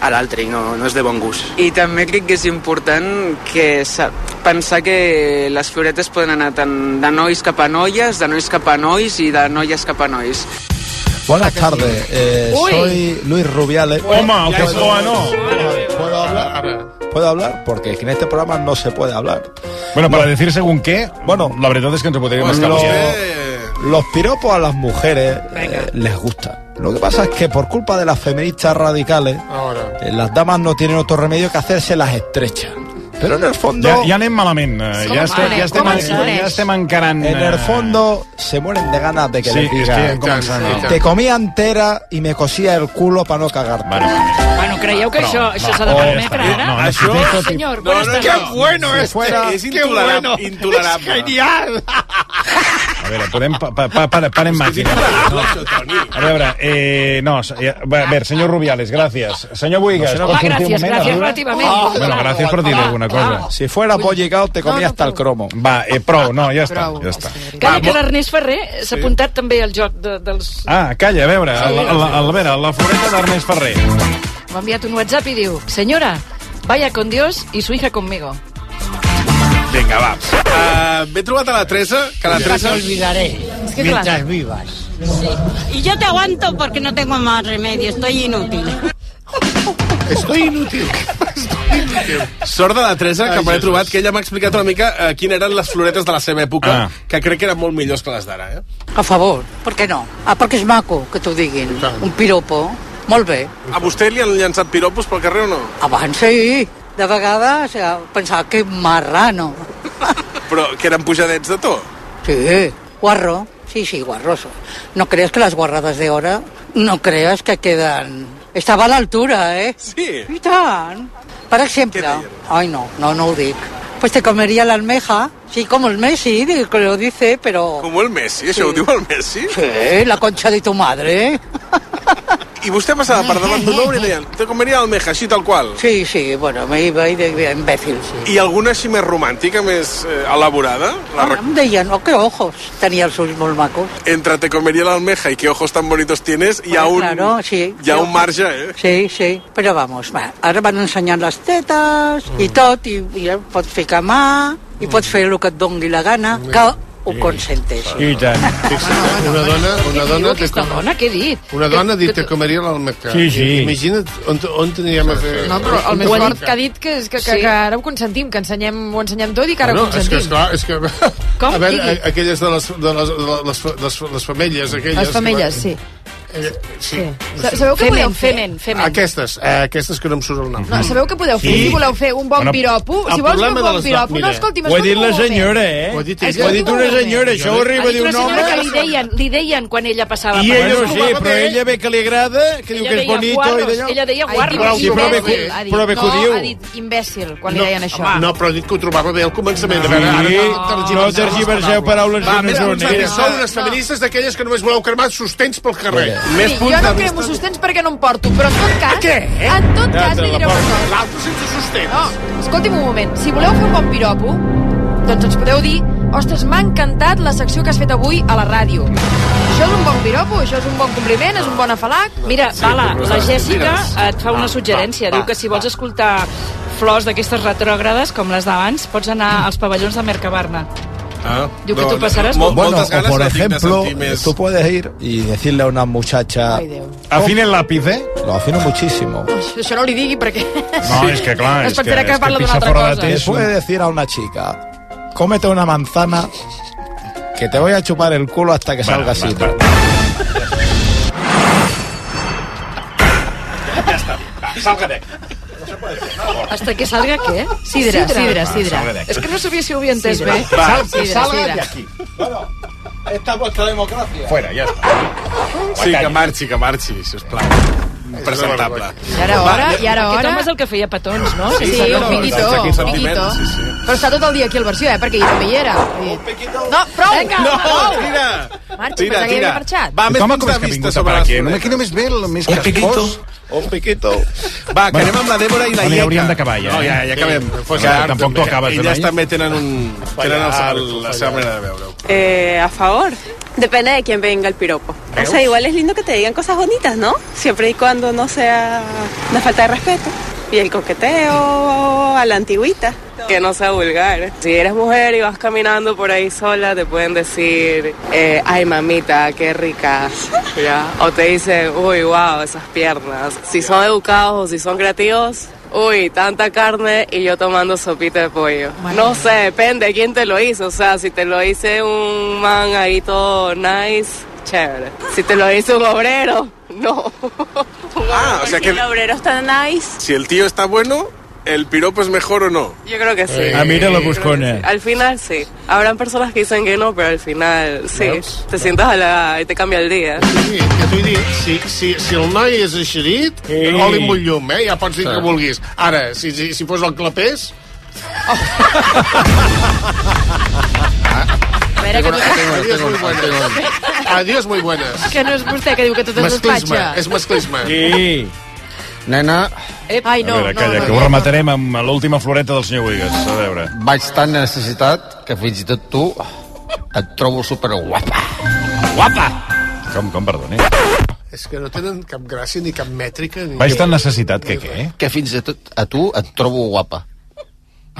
Speaker 28: a l'altre i no, no és de bon gust.
Speaker 13: I també crec que és important que sa- pensar que les floretes poden anar tant de nois cap a noies, de nois cap a nois i de noies cap a nois.
Speaker 6: Buenas tardes, eh,
Speaker 13: Uy.
Speaker 6: soy Luis Rubiales.
Speaker 13: Oma,
Speaker 6: ¿Puedo-
Speaker 13: que es
Speaker 6: ¿Puedo, ¿Puedo hablar? ¿Puedo hablar? Porque es que en este programa no se puede hablar.
Speaker 20: Bueno, para decir según qué, bueno, la verdad es que ens ho podríem
Speaker 6: Bueno,
Speaker 20: estar
Speaker 6: lo-
Speaker 20: dient.
Speaker 6: Los piropos a las mujeres eh, les gusta. Lo que pasa es que por culpa de las feministas radicales, eh, las damas no tienen otro remedio que hacerse las estrechas. Pero en el fondo...
Speaker 20: Ja, ja anem malament. eh,
Speaker 29: Ah,
Speaker 6: Com
Speaker 20: Ja estem,
Speaker 6: pare,
Speaker 20: ja estem,
Speaker 6: com
Speaker 20: en-
Speaker 6: ens coneix?
Speaker 20: ja estem encarant...
Speaker 6: En
Speaker 20: eh,
Speaker 6: el fondo se mueren de ganas de que
Speaker 20: Sí, és
Speaker 6: les
Speaker 20: que ja hem
Speaker 6: diga.
Speaker 20: començat, no?
Speaker 6: Te comía entera y me cosía el culo para no cagarte.
Speaker 21: Bueno, creieu que
Speaker 6: No,
Speaker 21: això, això
Speaker 6: no,
Speaker 21: s'ha
Speaker 18: oh,
Speaker 21: de
Speaker 6: no,
Speaker 21: permetre,
Speaker 6: no,
Speaker 21: ara?
Speaker 6: no, no,
Speaker 21: això...
Speaker 6: no, no,
Speaker 21: Senyor,
Speaker 6: no,
Speaker 21: buenas
Speaker 6: no,
Speaker 21: tardes.
Speaker 6: qué bueno
Speaker 18: Si
Speaker 6: este,
Speaker 18: fuera- es intolerable, intolerable.
Speaker 20: A veure, podem... Pa, pa, pa, pa, parem màquina. No. A veure, eh, no, se- ja- va, a ver, senyor Rubiales, gràcies. Senyor Buigas,
Speaker 6: No,
Speaker 20: pot
Speaker 6: va,
Speaker 20: sortir un
Speaker 6: gràcies,
Speaker 20: moment a
Speaker 6: gràcies,
Speaker 20: riure?
Speaker 6: relativament.
Speaker 20: Ah, Bueno, gràcies per dir alguna cosa.
Speaker 6: Si fuera pollicao, te comía hasta el cromo.
Speaker 20: Va, eh, prou, no, ja està, ja està.
Speaker 21: Calla, que l'Ernest Ferrer s'ha apuntat també al joc de, dels...
Speaker 20: Ah, calla, a veure, a, la- a, la- a, la- a veure, la floreta d'Ernest Ferrer.
Speaker 21: M'ha enviat un WhatsApp i diu Senyora, vaya con Dios y su hija conmigo.
Speaker 18: Vinga, va. Uh, M'he trobat a la Teresa, que la
Speaker 30: Nunca te
Speaker 18: Teresa...
Speaker 30: olvidaré
Speaker 13: que
Speaker 30: mientras
Speaker 13: claro.
Speaker 30: vivas. Y yo te aguanto porque no tengo más remedio, estoy inútil.
Speaker 18: Estoy inútil. Sort de la Teresa, que m'he trobat, que ella m'ha explicat una mica eh, quines eren les floretes de la seva època, ah. que crec que eren molt millors que les d'ara, eh?
Speaker 30: A favor, ¿por qué no? Ah, porque es maco que t'ho diguin. Un piropo, molt bé.
Speaker 18: A vostè li han llançat piropos pel carrer o no?
Speaker 30: Abans sí, de vegades eh, pensava que marrano.
Speaker 18: Però que eren pujadets de to?
Speaker 30: Sí, guarro, sí, sí, guarroso. No creas que las guarradas de ahora, no creas que quedan... Estava a l'altura, eh?
Speaker 18: Sí.
Speaker 30: I tant. Per exemple, ay no, no, no ho dic. Pues te comería la almeja, sí, como el Messi, digo, que lo dice, pero...
Speaker 18: Com el Messi, això sí. ho diu el Messi?
Speaker 30: Sí, Eh, la concha de tu madre, eh?
Speaker 18: I vostè passava per davant d'un obra i deien te comeria almeja, així tal qual.
Speaker 30: Sí, sí, bueno, me iba y de imbécil, sí.
Speaker 18: I alguna així més romàntica, més eh, elaborada? La...
Speaker 30: Em deien, oh, que ojos, tenia els ulls molt macos.
Speaker 18: Entre te comeria l'almeja i que ojos tan bonitos tienes, hi ha un,
Speaker 30: Claro, sí.
Speaker 18: hi ha un marge, eh?
Speaker 30: Sí, sí, però vamos, va, ara van ensenyant les tetes mm. i tot, i, i ja pots ficar mà, i
Speaker 18: Mm.
Speaker 30: pots fer el que et doni la gana, que ho consenteix.
Speaker 20: I tant.
Speaker 18: Una dona, una
Speaker 30: dona té Aquesta com- dona,
Speaker 21: què he dit?
Speaker 18: Una
Speaker 30: dona ha dit,
Speaker 18: te comeria l'almeja.
Speaker 7: Sí, sí.
Speaker 18: Imagina't on, on aniríem a fer...
Speaker 23: No, però el més
Speaker 18: Ho ha
Speaker 23: fort
Speaker 18: dit-
Speaker 23: que ha dit que, és que, que, que ara ho consentim, que ensenyem, ho ensenyem tot i que ara
Speaker 18: no,
Speaker 23: ho
Speaker 18: és que,
Speaker 23: consentim.
Speaker 18: esclar, és que...
Speaker 23: Com?
Speaker 18: A veure,
Speaker 23: Digui.
Speaker 18: a- aquelles de les, de les, de les, les, les femelles, aquelles...
Speaker 23: Les femelles, sí.
Speaker 18: Eh, sí.
Speaker 23: Sa- Sabeu que podeu fer?
Speaker 18: Aquestes, eh, aquestes que no em surt el nom.
Speaker 23: No, sabeu que podeu fer?
Speaker 18: Sí.
Speaker 23: Si voleu fer un bon
Speaker 18: Bueno,
Speaker 23: piropo,
Speaker 18: el
Speaker 23: si vols fer
Speaker 18: problema
Speaker 23: un
Speaker 18: de les
Speaker 23: bon
Speaker 18: do-
Speaker 23: piropo,
Speaker 18: mira,
Speaker 23: no, escolti'm,
Speaker 18: ho ha dit
Speaker 23: escolti'm
Speaker 18: la
Speaker 23: un moment.
Speaker 18: senyora, eh? Ho ha dit ella.
Speaker 23: Escolti'm
Speaker 18: Ho ha dit
Speaker 23: un
Speaker 18: una
Speaker 23: moment.
Speaker 18: senyora, això
Speaker 23: Jo-
Speaker 18: arriba
Speaker 23: Ha
Speaker 18: d'un
Speaker 23: dit una
Speaker 18: home-
Speaker 23: senyora
Speaker 21: Que li deien, li deien quan ella passava
Speaker 18: I
Speaker 21: per
Speaker 18: ella
Speaker 21: la
Speaker 18: sí,
Speaker 21: rua.
Speaker 18: però ella
Speaker 7: ve que li agrada, que
Speaker 21: Ella deia guarros, ella deia guarros.
Speaker 18: Sí, però bé que-
Speaker 23: Ha dit,
Speaker 18: però bé que ho
Speaker 23: no,
Speaker 18: diu.
Speaker 23: ha dit imbècil, quan li deien això.
Speaker 18: no, però ha dit que ho trobava bé al començament.
Speaker 7: Sí, no tergiverseu paraules que
Speaker 18: Va,
Speaker 7: no
Speaker 18: més
Speaker 7: són,
Speaker 18: punts
Speaker 7: eh?
Speaker 18: perquè sou unes feministes d'aquelles que només voleu cremar sostens pel carrer.
Speaker 23: Sí, jo no cremo sostens perquè no em porto, però en tot cas... En tot
Speaker 18: Ja
Speaker 23: cas
Speaker 18: te
Speaker 23: li
Speaker 18: la
Speaker 23: diré una
Speaker 18: porto.
Speaker 23: cosa.
Speaker 18: L'altre sense sostens.
Speaker 23: No, escolti'm un moment. Si voleu fer un bon piropo, doncs ens podeu dir Ostres, m'ha encantat la secció que has fet avui a la ràdio. Això és un bon piropo, això és un bon compliment, és un bon afalac...
Speaker 21: Mira,
Speaker 23: Sí,
Speaker 21: Bala,
Speaker 23: però
Speaker 21: la
Speaker 23: les
Speaker 21: Jèssica
Speaker 23: mires.
Speaker 21: et fa una suggerència.
Speaker 23: va,
Speaker 21: Diu que si vols escoltar flors d'aquestes retrògrades, com les d'abans, pots anar als pavellons de Mercabarna.
Speaker 18: Ah,
Speaker 21: Diu que tu passaràs...
Speaker 6: Bueno, o por ejemplo, tú puedes ir y decirle a una muchacha...
Speaker 20: Afina el lápiz, ¿eh?
Speaker 6: Lo afino muchísimo.
Speaker 23: Això no li digui perquè...
Speaker 6: No, es que
Speaker 23: (laughs)
Speaker 6: claro,
Speaker 23: Es
Speaker 6: es que,
Speaker 23: pensarà que
Speaker 6: es que
Speaker 23: parla d'una
Speaker 6: pisa
Speaker 23: altra
Speaker 6: fuera de
Speaker 23: cosa.
Speaker 6: ti. Le puede decir a una chica, cómete una manzana que te voy a chupar el culo hasta que salga así.
Speaker 18: Ja està. Va.
Speaker 20: salga de aquí.
Speaker 21: Hasta que salga què? Sidra, sidra, sidra. És que no sabia si ho havia entès
Speaker 20: Sidra.
Speaker 21: bé.
Speaker 20: Va,
Speaker 21: Sidra,
Speaker 20: salga
Speaker 21: sidra.
Speaker 20: de aquí. Bueno, esta es vuestra democracia.
Speaker 18: Fuera, ja està. Sí, que marxi, que marxi, sisplau. Presentable.
Speaker 21: I ara
Speaker 23: hora, i ara hora.
Speaker 21: Aquest home és el que feia petons, no?
Speaker 23: Sí, sí, doncs un piquito, un piquito. Però està tot el dia aquí al versió, eh, perquè jo també hi era. No, prou!
Speaker 21: Vinga,
Speaker 23: no,
Speaker 21: va,
Speaker 23: prou!
Speaker 18: Tira!
Speaker 23: Marxa, tira, pensava que hi havia marxat.
Speaker 18: Va, més
Speaker 10: Home,
Speaker 18: punts
Speaker 10: com
Speaker 18: de
Speaker 10: és que ha
Speaker 18: vista
Speaker 10: vingut a
Speaker 18: sobre
Speaker 10: parar
Speaker 18: les
Speaker 10: aquí? No
Speaker 18: floretes.
Speaker 10: m'imagino més bé, el més
Speaker 18: Un
Speaker 10: cascós.
Speaker 18: piquito.
Speaker 20: Un piquito.
Speaker 18: Va, Ah, que anem amb la Débora i la
Speaker 31: bueno,
Speaker 18: Ieca.
Speaker 31: ja hauríem d'acabar, ja,
Speaker 18: No, ja,
Speaker 31: eh?
Speaker 18: ja eh, acabem.
Speaker 31: Sí, fos tard,
Speaker 18: tampoc
Speaker 31: també.
Speaker 18: tu acabes,
Speaker 31: Elles
Speaker 18: Ells
Speaker 20: eh?
Speaker 18: també tenen un... Tenen el,
Speaker 31: el-
Speaker 18: la seva manera de veure-ho.
Speaker 32: Eh, a favor. Depende de quién venga el piropo. O sea, igual es lindo que te digan cosas bonitas, ¿no? Siempre y cuando no sea una falta de respeto. Y el coqueteo a la antigüita. Que no sea vulgar. Si eres mujer y vas caminando por ahí sola, te pueden decir, eh, ay mamita, qué rica. (laughs) ¿ya? O te dicen, uy, wow, esas piernas. Si son educados o si son creativos, uy, tanta carne y yo tomando sopita de pollo. No sé, depende de quién te lo hizo. O sea, si te lo hice un man ahí todo nice, chévere. Si te lo hizo un obrero, no.
Speaker 18: Ah, o sea que
Speaker 32: obrero está nice,
Speaker 18: si el tío está bueno, el piropo es mejor o no.
Speaker 32: yo creo que sí.
Speaker 18: Eh, ah, mira la
Speaker 32: Yo creo que
Speaker 18: buscona.
Speaker 32: sí. Al final sí. Habrán personas que dicen que no, pero al final sí.
Speaker 18: Veus?
Speaker 32: Te sientas a la y te cambia el día.
Speaker 18: Sí,
Speaker 32: que
Speaker 18: t'ho he dit, si, si, si el noi és eixerit, sí. oli amb un llum, eh? Ja pots dir sí. que vulguis. Ara, si, si, si fos el clapés...
Speaker 21: A veure, que no...
Speaker 18: Adiós, muy buenas. Adiós, muy buenas.
Speaker 21: Que no és vostè que diu que tot és
Speaker 18: Masclisme,
Speaker 21: despatxa.
Speaker 18: és masclisme.
Speaker 20: Sí.
Speaker 33: Nena,
Speaker 21: Ep. Ai, no,
Speaker 20: A veure,
Speaker 21: no.
Speaker 20: calla, que ho rematarem amb l'última floreta del senyor Boigas. A veure.
Speaker 33: vaig tan necessitat que fins i tot tu et trobo superguapa.
Speaker 20: Guapa! Com, com, perdoni?
Speaker 18: És que no tenen cap gràcia ni cap mètrica. Ni...
Speaker 20: Vaig tan necessitat que què?
Speaker 33: Que fins i tot a tu et trobo guapa.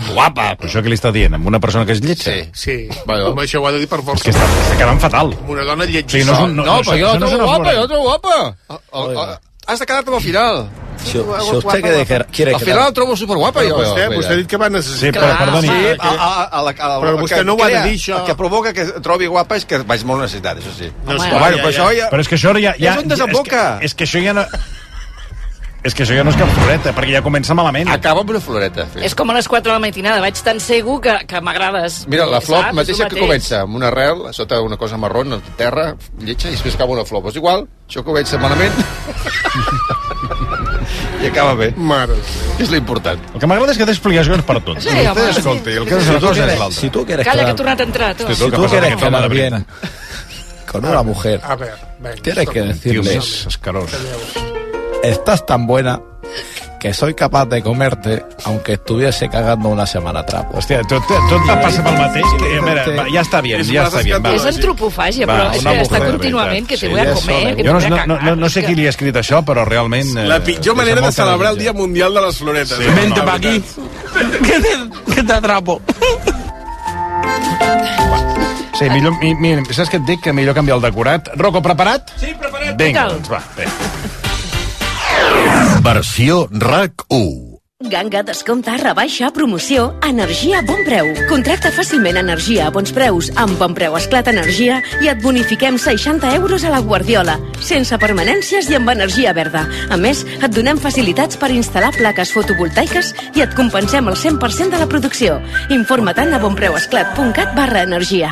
Speaker 20: Guapa! Però això que li està dient? Amb una persona que és lletja? Sí.
Speaker 18: Sí, bueno. home, això ho ha de dir per força.
Speaker 20: És que està, està quedant fatal.
Speaker 18: Amb una dona lletja.
Speaker 20: Sí, no és un- no- no, però jo la
Speaker 18: això és
Speaker 20: trobo
Speaker 18: una
Speaker 20: guapa,
Speaker 18: floreta. jo la trobo
Speaker 10: Ah,
Speaker 18: guapa. El- el- Has de quedar-te amb el final.
Speaker 10: Si, si usted quiere dejar- quiere
Speaker 18: Al final
Speaker 10: quedar-
Speaker 18: el trobo superguapa,
Speaker 10: Però
Speaker 18: jo.
Speaker 10: vostè- vostè ha dit
Speaker 18: que va
Speaker 10: Sí, però, perdoni.
Speaker 18: Sí,
Speaker 10: a, a, a la, a la,
Speaker 18: Però
Speaker 10: el
Speaker 18: vostè
Speaker 10: que
Speaker 18: no ho ha de
Speaker 10: crea-
Speaker 18: dir, això.
Speaker 10: El que provoca que et trobi guapa és que vaig molt necessitat, això sí.
Speaker 18: No,
Speaker 10: però,
Speaker 18: esclar,
Speaker 10: bueno,
Speaker 18: ja,
Speaker 10: però,
Speaker 18: ja.
Speaker 10: això ja,
Speaker 20: Però és que això ara ja... ja
Speaker 10: És on desemboca.
Speaker 20: És que, és que això ja no... És que això ja no és cap floreta, perquè ja comença malament.
Speaker 33: Acaba amb una floreta.
Speaker 21: És com a les 4 de la matinada, vaig tan segur que, que m'agrades.
Speaker 33: Mira, la flor
Speaker 21: Saps? És
Speaker 33: mateixa
Speaker 21: el
Speaker 33: que
Speaker 21: mateix.
Speaker 33: comença amb una arrel, sota una cosa marrona, terra, lletja, i després acaba una flor. Però és igual, això comença malament i acaba bé.
Speaker 18: Mare.
Speaker 33: És l'important.
Speaker 20: El que m'agrada és que té explicacions per tot.
Speaker 21: Sí, home,
Speaker 33: Vostè,
Speaker 21: sí.
Speaker 33: escolti, el que
Speaker 10: Si
Speaker 33: és una
Speaker 10: tu
Speaker 33: cosa
Speaker 10: quieres-
Speaker 33: és l'altra.
Speaker 10: si tu quieres
Speaker 21: Calla, que
Speaker 10: quedar-
Speaker 21: ha tornat a entrar. Tu.
Speaker 10: Si tú quieres quedar bien con una mujer,
Speaker 18: A ver, venga.
Speaker 10: tienes que decirle,
Speaker 18: Dios,
Speaker 20: escaroso.
Speaker 10: estás tan buena que soy capaz de comerte aunque estuviese cagando una semana atrás.
Speaker 20: Hòstia, tot, tot te passa pel mateix. Que, a veure, va, ja està bé,
Speaker 10: És
Speaker 20: ja està bé.
Speaker 21: És antropofàgia, però és que
Speaker 20: eh,
Speaker 21: està contínuament que te voy a comer, que te
Speaker 20: Jo no,
Speaker 21: voy a
Speaker 20: no,
Speaker 21: cagar.
Speaker 20: no, no, no sé qui li ha escrit això, però realment...
Speaker 18: La pitjor manera de celebrar el
Speaker 20: dia
Speaker 18: mundial de les floretes.
Speaker 20: Sí, Vente pa' aquí.
Speaker 18: Que te, que te atrapo.
Speaker 20: Sí, millor, mi, mi, saps què et dic? Que millor canviar el decorat. Rocco, preparat? Sí, preparat. Vinga,
Speaker 21: Total.
Speaker 20: doncs va, bé.
Speaker 8: Versió RAC1.
Speaker 34: Ganga, descompte, rebaixa, promoció, energia a bon preu. Contracta fàcilment energia a bons preus. Amb bon preu esclat energia i et bonifiquem 60 euros a la Guardiola, sense permanències i amb energia verda. A més, et donem facilitats per instal·lar plaques fotovoltaiques i et compensem el 100% de la producció. Informa-te'n a bonpreuesclat.cat barra energia.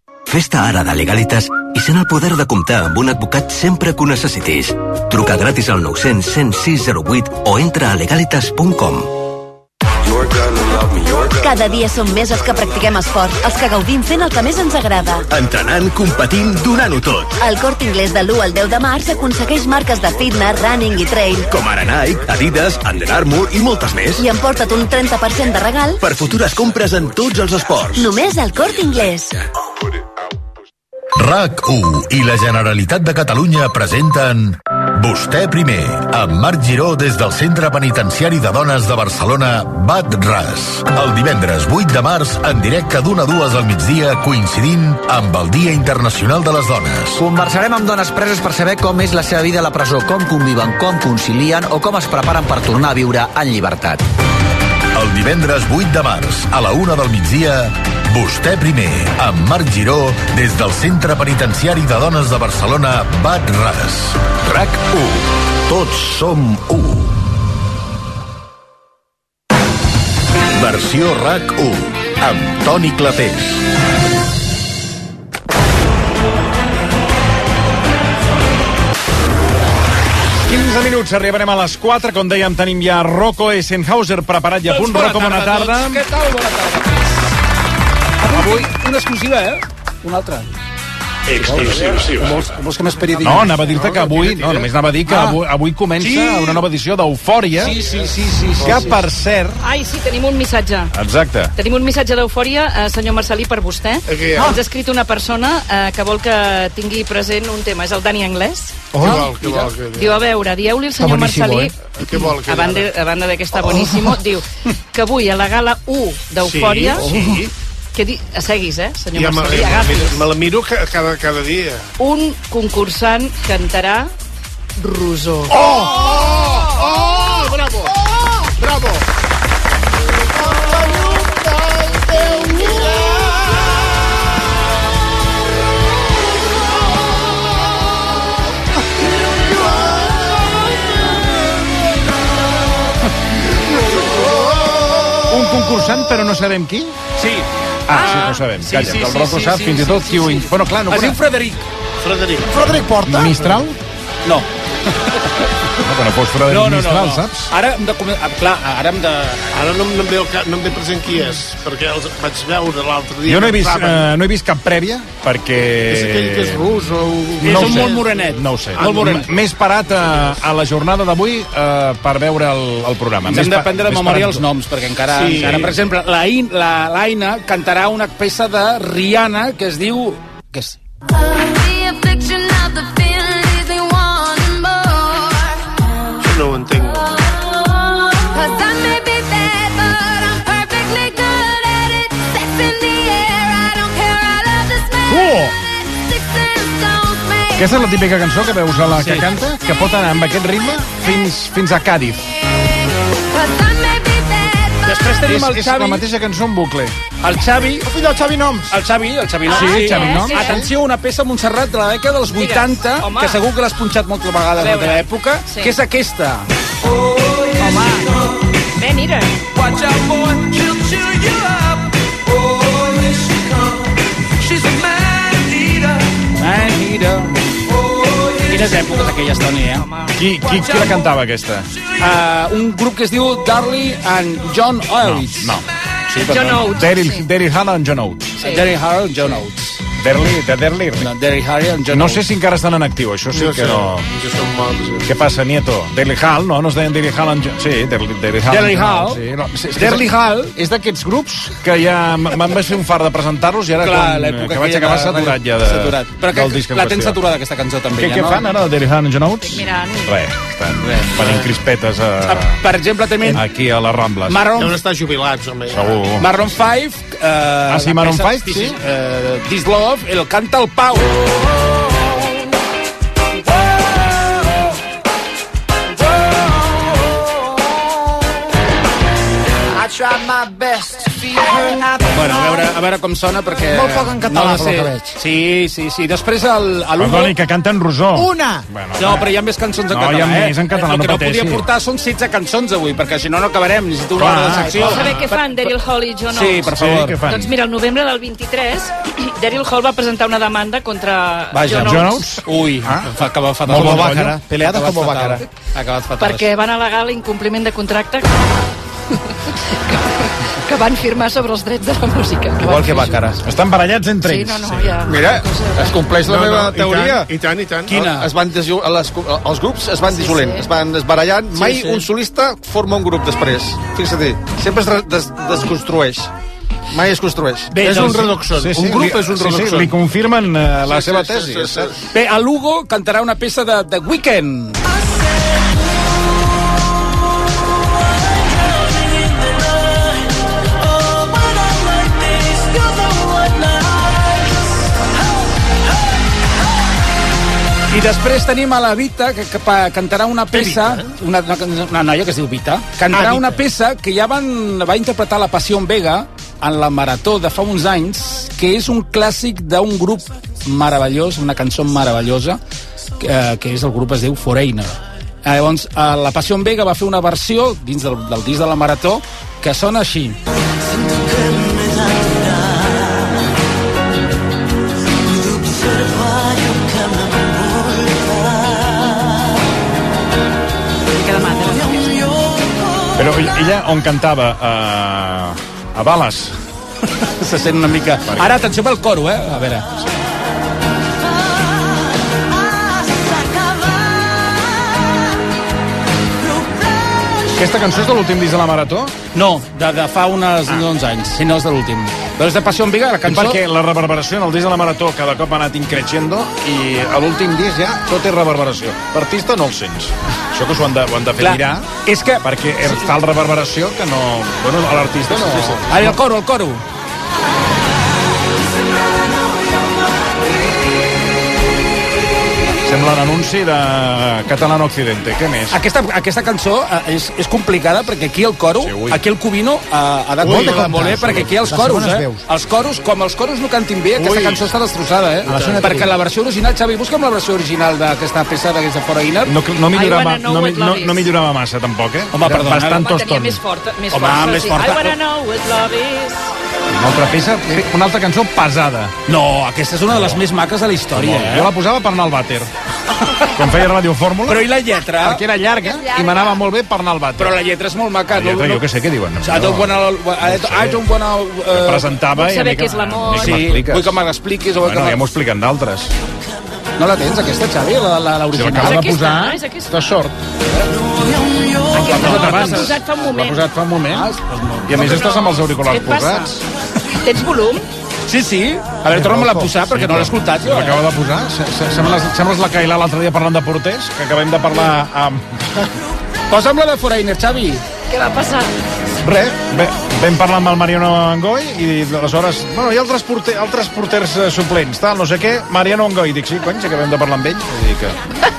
Speaker 16: Fes-te ara de Legalitas i sent el poder de comptar amb un advocat sempre que ho necessitis. Truca gratis al 900 106 08 o entra a legalitas.com. Cada dia som més els que practiquem esport, els que gaudim fent el que més ens agrada. Entrenant, competint, donant-ho tot. El Cort Inglés de l'1 al 10 de març aconsegueix marques de fitness, running i trail. Com ara Nike, Adidas, Under Armour i moltes més. I emporta't un 30% de regal Per futures compres en tots els esports. només al Cort Inglés.
Speaker 8: RAC1 i la Generalitat de Catalunya presenten Vostè primer, amb Marc Giró des del Centre Penitenciari de Dones de Barcelona, Bat Ras. El divendres 8 de març, en directe d'una a dues al migdia, coincidint amb el Dia Internacional de les Dones.
Speaker 35: Conversarem amb dones preses per saber com és la seva vida a la presó, com conviven, com concilien o com es preparen per tornar a viure en llibertat.
Speaker 8: El divendres 8 de març, a la una del migdia, Vostè primer, amb Marc Giró, des del Centre Penitenciari de Dones de Barcelona, Bat Ras. RAC 1. Tots som 1. Versió RAC 1, amb Toni Clapés.
Speaker 20: Ràdio. 15 minuts, arribarem a les 4. Com dèiem, tenim ja Rocco Essenhauser preparat i a punt. Rocco, bona tarda.
Speaker 29: Doncs a tots. Què tal? Bona tarda. Avui, una exclusiva, eh? Una altra.
Speaker 20: Exclusiva.
Speaker 29: Vols, vols que m'esperi
Speaker 20: No, anava a dir-te que avui, no, només anava a dir que
Speaker 29: Ah.
Speaker 20: avui, avui comença
Speaker 29: Sí.
Speaker 20: una nova edició d'Eufòria.
Speaker 29: Sí, sí, sí, sí, sí,
Speaker 20: Que,
Speaker 29: sí.
Speaker 20: per cert...
Speaker 21: Ai, sí, tenim un missatge.
Speaker 20: Exacte.
Speaker 21: Tenim un missatge d'eufòria, eh, senyor Marcelí, per vostè.
Speaker 20: Aquí, eh?
Speaker 21: Ens ha escrit una persona eh, que vol que tingui present un tema. És el Dani Anglès.
Speaker 29: Oh, què vol, què vol, què
Speaker 21: Diu, a veure, dieu-li al
Speaker 29: Està
Speaker 21: senyor
Speaker 29: bonísimo,
Speaker 21: Marcelí...
Speaker 29: eh? Què vol que Oh.
Speaker 21: a, banda, a banda de que
Speaker 29: (laughs)
Speaker 21: està boníssimo, diu que avui a la gala 1 d'Eufòria...
Speaker 29: Sí, oh. sí.
Speaker 21: Que di... Seguis, eh, senyor
Speaker 18: Ja me,
Speaker 21: Marcelí,
Speaker 18: ja me,
Speaker 21: agafis.
Speaker 18: me la miro ca- cada, cada dia.
Speaker 21: Un concursant cantarà Rosó.
Speaker 29: Oh, bravo! Bravo!
Speaker 20: Un concursant, però no sabem qui?
Speaker 29: Sí.
Speaker 20: Ah, sí, no ho sabem.
Speaker 29: Sí,
Speaker 20: Calla,
Speaker 29: sí,
Speaker 20: que el
Speaker 29: sí,
Speaker 20: Rocco
Speaker 29: sí,
Speaker 20: sap
Speaker 29: sí,
Speaker 20: fins i
Speaker 29: sí,
Speaker 20: tot
Speaker 29: sí,
Speaker 20: qui ho...
Speaker 29: sí,
Speaker 20: in-
Speaker 29: sí.
Speaker 20: Bueno, clar, no...
Speaker 29: Es diu
Speaker 20: conec.
Speaker 29: Frederic. Frederic.
Speaker 20: Frederic Porta? Mistral?
Speaker 29: No.
Speaker 20: No, però fos Frederic
Speaker 29: No, no, no.
Speaker 20: Mistral,
Speaker 29: no.
Speaker 20: saps?
Speaker 29: Ara hem de... comen- ah, Clar, ara hem de...
Speaker 18: Ara no, em- no, em ve el cap, no em ve present qui és, perquè els vaig veure l'altre dia.
Speaker 20: Jo no he, vist,
Speaker 18: Entraven.
Speaker 20: eh, no he vist cap prèvia, perquè...
Speaker 18: És aquell que és rus o...
Speaker 20: ho sé. No
Speaker 18: No ho
Speaker 20: ho sé.
Speaker 18: Molt morenet.
Speaker 20: M- M'he esperat a, a la jornada d'avui eh, per veure el, el programa.
Speaker 29: Ens
Speaker 20: M'he
Speaker 29: hem de
Speaker 20: espe-
Speaker 29: prendre de
Speaker 20: m'he
Speaker 29: memòria
Speaker 20: esperat-
Speaker 29: els noms, perquè encara...
Speaker 20: Sí.
Speaker 29: Sí. encara per exemple, la In- la- l'Aina la, cantarà una peça de Rihanna que es diu... Què és?
Speaker 18: Això no ho entenc.
Speaker 20: Oh! Aquesta és la típica cançó que veus a la sí. que canta, que pot anar amb aquest ritme fins, fins a Càdiz.
Speaker 29: Després tenim
Speaker 20: és,
Speaker 29: el
Speaker 20: és
Speaker 29: Xavi.
Speaker 20: la mateixa cançó en bucle.
Speaker 29: El Xavi...
Speaker 20: El fill del Xavi Noms.
Speaker 29: El Xavi, el Xavi Noms.
Speaker 20: Sí, Xavi Noms.
Speaker 29: Atenció, una peça Montserrat de la dècada dels eh, Digues, 80, home. que segur que l'has punxat moltes A vegades de veure. la teva època, Sí. que és aquesta.
Speaker 21: Ben Iren.
Speaker 29: Watch out, boy, she'll cheer you up. Oh, here she comes. She's a man-eater. Man-eater. Quines èpoques aquelles, Toni, eh?
Speaker 20: Qui, qui, qui la cantava, aquesta?
Speaker 29: Uh, un grup que es diu Darley and John Oates.
Speaker 20: No,
Speaker 29: Sí, perdó.
Speaker 20: Daryl, Daryl Hannah and John Oates.
Speaker 29: Ah. Sí. Derry Harrell and John Oates.
Speaker 20: Derli, de Derli.
Speaker 29: No, Derry Harrell and John
Speaker 20: No
Speaker 29: Oates.
Speaker 20: sé si encara estan en actiu, això sí
Speaker 29: No
Speaker 20: que
Speaker 29: sé,
Speaker 20: no...
Speaker 18: Que són bons.
Speaker 20: Què passa, Nieto? Derli Hall? No, no es deien Derli Hall and John... Sí, Derli, Derli Hall.
Speaker 29: Derry Hall.
Speaker 20: Sí, no, sí, és que-
Speaker 29: Derry Hall.
Speaker 20: És d'aquests grups que ja me'n vaig fer un far de presentar-los i ara
Speaker 29: Clar,
Speaker 20: quan,
Speaker 29: l'època
Speaker 20: que vaig
Speaker 29: aquella
Speaker 20: acabar
Speaker 29: de-
Speaker 20: saturat ja de,
Speaker 29: saturat. Però que
Speaker 20: del disc en
Speaker 29: la tens
Speaker 20: qüestió.
Speaker 29: saturada, aquesta cançó, també,
Speaker 20: Què,
Speaker 29: ja,
Speaker 20: què
Speaker 29: no?
Speaker 20: fan ara, Derry Hall and John Oates?
Speaker 21: Mirant.
Speaker 20: Res, estan venint crispetes a,
Speaker 29: Ah, Per exemple, també...
Speaker 20: aquí a les Rambles.
Speaker 29: Maroon- Deuen
Speaker 18: estar jubilats, home.
Speaker 20: Segur.
Speaker 29: Maroon 5... Uh, ah,
Speaker 20: Oh. sí, Maroon 5, sí?
Speaker 29: Uh, This Love, el canta el Pau.
Speaker 14: I tried my best to feed her
Speaker 29: Bueno, a veure, a veure com sona, perquè...
Speaker 14: Molt poc en català, pel que veig.
Speaker 29: Sí, sí, sí. Després el... el Hugo-
Speaker 20: Perdoni, que canten Rosó.
Speaker 29: Una! Bueno, no, però hi ha més cançons en
Speaker 20: No,
Speaker 29: català,
Speaker 20: hi ha
Speaker 29: eh?
Speaker 20: més en català,
Speaker 29: El que
Speaker 20: no
Speaker 29: no podia
Speaker 20: pateixi.
Speaker 29: portar són 16 cançons avui, perquè si no, no acabarem. Necessito una
Speaker 20: Clar,
Speaker 29: hora de secció.
Speaker 21: Vols saber què fan Daryl Hall i John
Speaker 29: Ah, Sí,
Speaker 21: Oates?
Speaker 29: per favor.
Speaker 20: Sí, què fan?
Speaker 21: Doncs mira, el novembre del 23, (clears throat) Daryl Hall va presentar una demanda contra
Speaker 29: Vaja,
Speaker 21: John Oates
Speaker 29: Ui, ah? fa acabar fatal.
Speaker 20: Molt
Speaker 29: Acabat
Speaker 20: bàcara.
Speaker 29: fatal.
Speaker 20: Peleades
Speaker 29: Acabat
Speaker 20: com
Speaker 29: fatal.
Speaker 20: bàcara.
Speaker 29: Acabat fatal.
Speaker 21: perquè van al·legar l'incompliment de contracte que, (laughs) que van firmar sobre els drets de la música. Que van
Speaker 20: que va, cara. Estan barallats entre
Speaker 21: Sí,
Speaker 20: ells.
Speaker 21: no, no, ja.
Speaker 20: Mira,
Speaker 10: es compleix la meva teoria.
Speaker 18: I tant, i tant.
Speaker 10: No, Es van desu... les... Els grups es van
Speaker 18: Sí,
Speaker 10: dissolent,
Speaker 18: sí.
Speaker 10: es van desbarallant.
Speaker 18: Sí,
Speaker 10: Mai
Speaker 18: sí.
Speaker 10: un solista forma un grup després. Fixa't, sempre es re- des... desconstrueix. Mai es construeix.
Speaker 20: Bé,
Speaker 10: és
Speaker 20: doncs-
Speaker 10: un redoxon.
Speaker 20: sí, sí,
Speaker 10: un grup
Speaker 20: li-
Speaker 10: és un
Speaker 20: sí, sí,
Speaker 10: redoxon.
Speaker 20: li confirmen, eh, la seva tesi, és cert.
Speaker 29: Bé, a Lugo cantarà una peça de The Weeknd. I després tenim a la Vita, que, que pa- cantarà una peça... Una, una, una noia que es diu Vita.
Speaker 20: Ah,
Speaker 29: Cantarà
Speaker 20: Vita.
Speaker 29: una peça que ja van, va interpretar la Passió en Vega en la Marató de fa uns anys, que és un clàssic d'un grup meravellós, una cançó meravellosa, que, eh, que és el grup es diu Foreigner. Eh, llavors, eh, la Passió en Vega va fer una versió dins del, del disc de la Marató que sona així.
Speaker 20: Però ella on cantava? A, a Bales.
Speaker 29: (laughs) Se sent una mica... Ara, atenció pel coro, eh? A veure.
Speaker 20: Aquesta cançó és de l'últim disc de la Marató?
Speaker 29: No, de, de fa unes ah. 11 anys, si no és de l'últim. Però és de Passió en Viga, la
Speaker 20: Cançó?
Speaker 29: cançó...
Speaker 20: Perquè la reverberació en el disc de la Marató cada cop ha anat increixendo i a l'últim disc ja tot és reverberació. L'artista no el sents. Això que s'ho han, de, ho han de fer
Speaker 29: Clar,
Speaker 20: mirar.
Speaker 29: És que...
Speaker 20: Perquè és tal reverberació que no... Bueno, a l'artista no...
Speaker 29: Sí, sí. Ara, Ah, el coro, el coro.
Speaker 20: Sembla l'anunci de Catalán Occidente. Què més?
Speaker 29: Aquesta, aquesta cançó eh, és, és complicada perquè aquí el coro, sí, aquí el Cubino eh, ha de
Speaker 20: Ui,
Speaker 29: molt de
Speaker 20: com
Speaker 29: voler,
Speaker 20: vas,
Speaker 29: perquè
Speaker 20: ui.
Speaker 29: aquí els
Speaker 20: Les
Speaker 29: coros,
Speaker 20: segones
Speaker 29: eh?
Speaker 20: veus.
Speaker 29: Els coros, com els coros no cantin bé, aquesta
Speaker 20: Ui.
Speaker 29: cançó està destrossada,
Speaker 20: A la
Speaker 29: eh?
Speaker 20: zona de
Speaker 29: Perquè
Speaker 20: Cubino.
Speaker 29: la versió original, Xavi, busca'm la versió original d'aquesta peça d'aquesta Foreigner.
Speaker 20: No, no, millorava, no, mi- no, no millorava massa, tampoc, eh?
Speaker 29: Home, perdona,
Speaker 20: Bastant
Speaker 29: home,
Speaker 20: toston.
Speaker 21: més forta, més
Speaker 20: Home,
Speaker 21: forta.
Speaker 20: més
Speaker 21: sí.
Speaker 20: forta.
Speaker 21: I wanna know what love is.
Speaker 20: Una altra peça, una altra cançó pesada.
Speaker 29: No, aquesta és una de les més maques de la història, eh?
Speaker 20: Jo la posava per anar al vàter. Quan feia Radio Fórmula.
Speaker 29: Però i la lletra?
Speaker 20: Perquè era llarga i m'anava molt bé per anar al vàter.
Speaker 29: Però la lletra és molt maca.
Speaker 20: La lletra,
Speaker 29: no,
Speaker 20: jo què sé què diuen.
Speaker 29: I don't wanna... I don't- I don't wanna... eh,
Speaker 20: Presentava i a mi que- a mi que
Speaker 29: Sí,
Speaker 20: m'expliques.
Speaker 29: vull que me l'expliquis. o vull
Speaker 20: Bueno,
Speaker 29: que
Speaker 20: ja
Speaker 29: me-
Speaker 20: m'ho expliquen d'altres.
Speaker 29: No la tens, aquesta, Xavi, la- la- l'original?
Speaker 20: l'acaba de És aquesta,
Speaker 21: posar, és aquesta.
Speaker 29: de sort.
Speaker 20: no
Speaker 21: Aquesta no l'han
Speaker 20: t'avances.
Speaker 21: posat fa un
Speaker 20: L'ha
Speaker 21: moment.
Speaker 20: posat fa un moment. I a més estàs amb els auriculars posats.
Speaker 21: Tens volum?
Speaker 29: Sí, sí. A veure, torna-me-la a posar, perquè no l'he escoltat jo.
Speaker 20: L'acaba de posar. Se- se- Sembles, sembles la Cailà l'altre dia parlant de porters, que acabem de parlar amb...
Speaker 29: Posa'm la de Foreigner, Xavi.
Speaker 21: Què va passar?
Speaker 20: Res, bé, vam parlar amb el Mariano Angoy i aleshores... Bueno, hi ha altres, porter, altres porters eh, suplents, tal, no sé què. Mariano Angoy, dic, sí, cony, si acabem de parlar amb ell. Vull dir
Speaker 29: (laughs)
Speaker 20: que...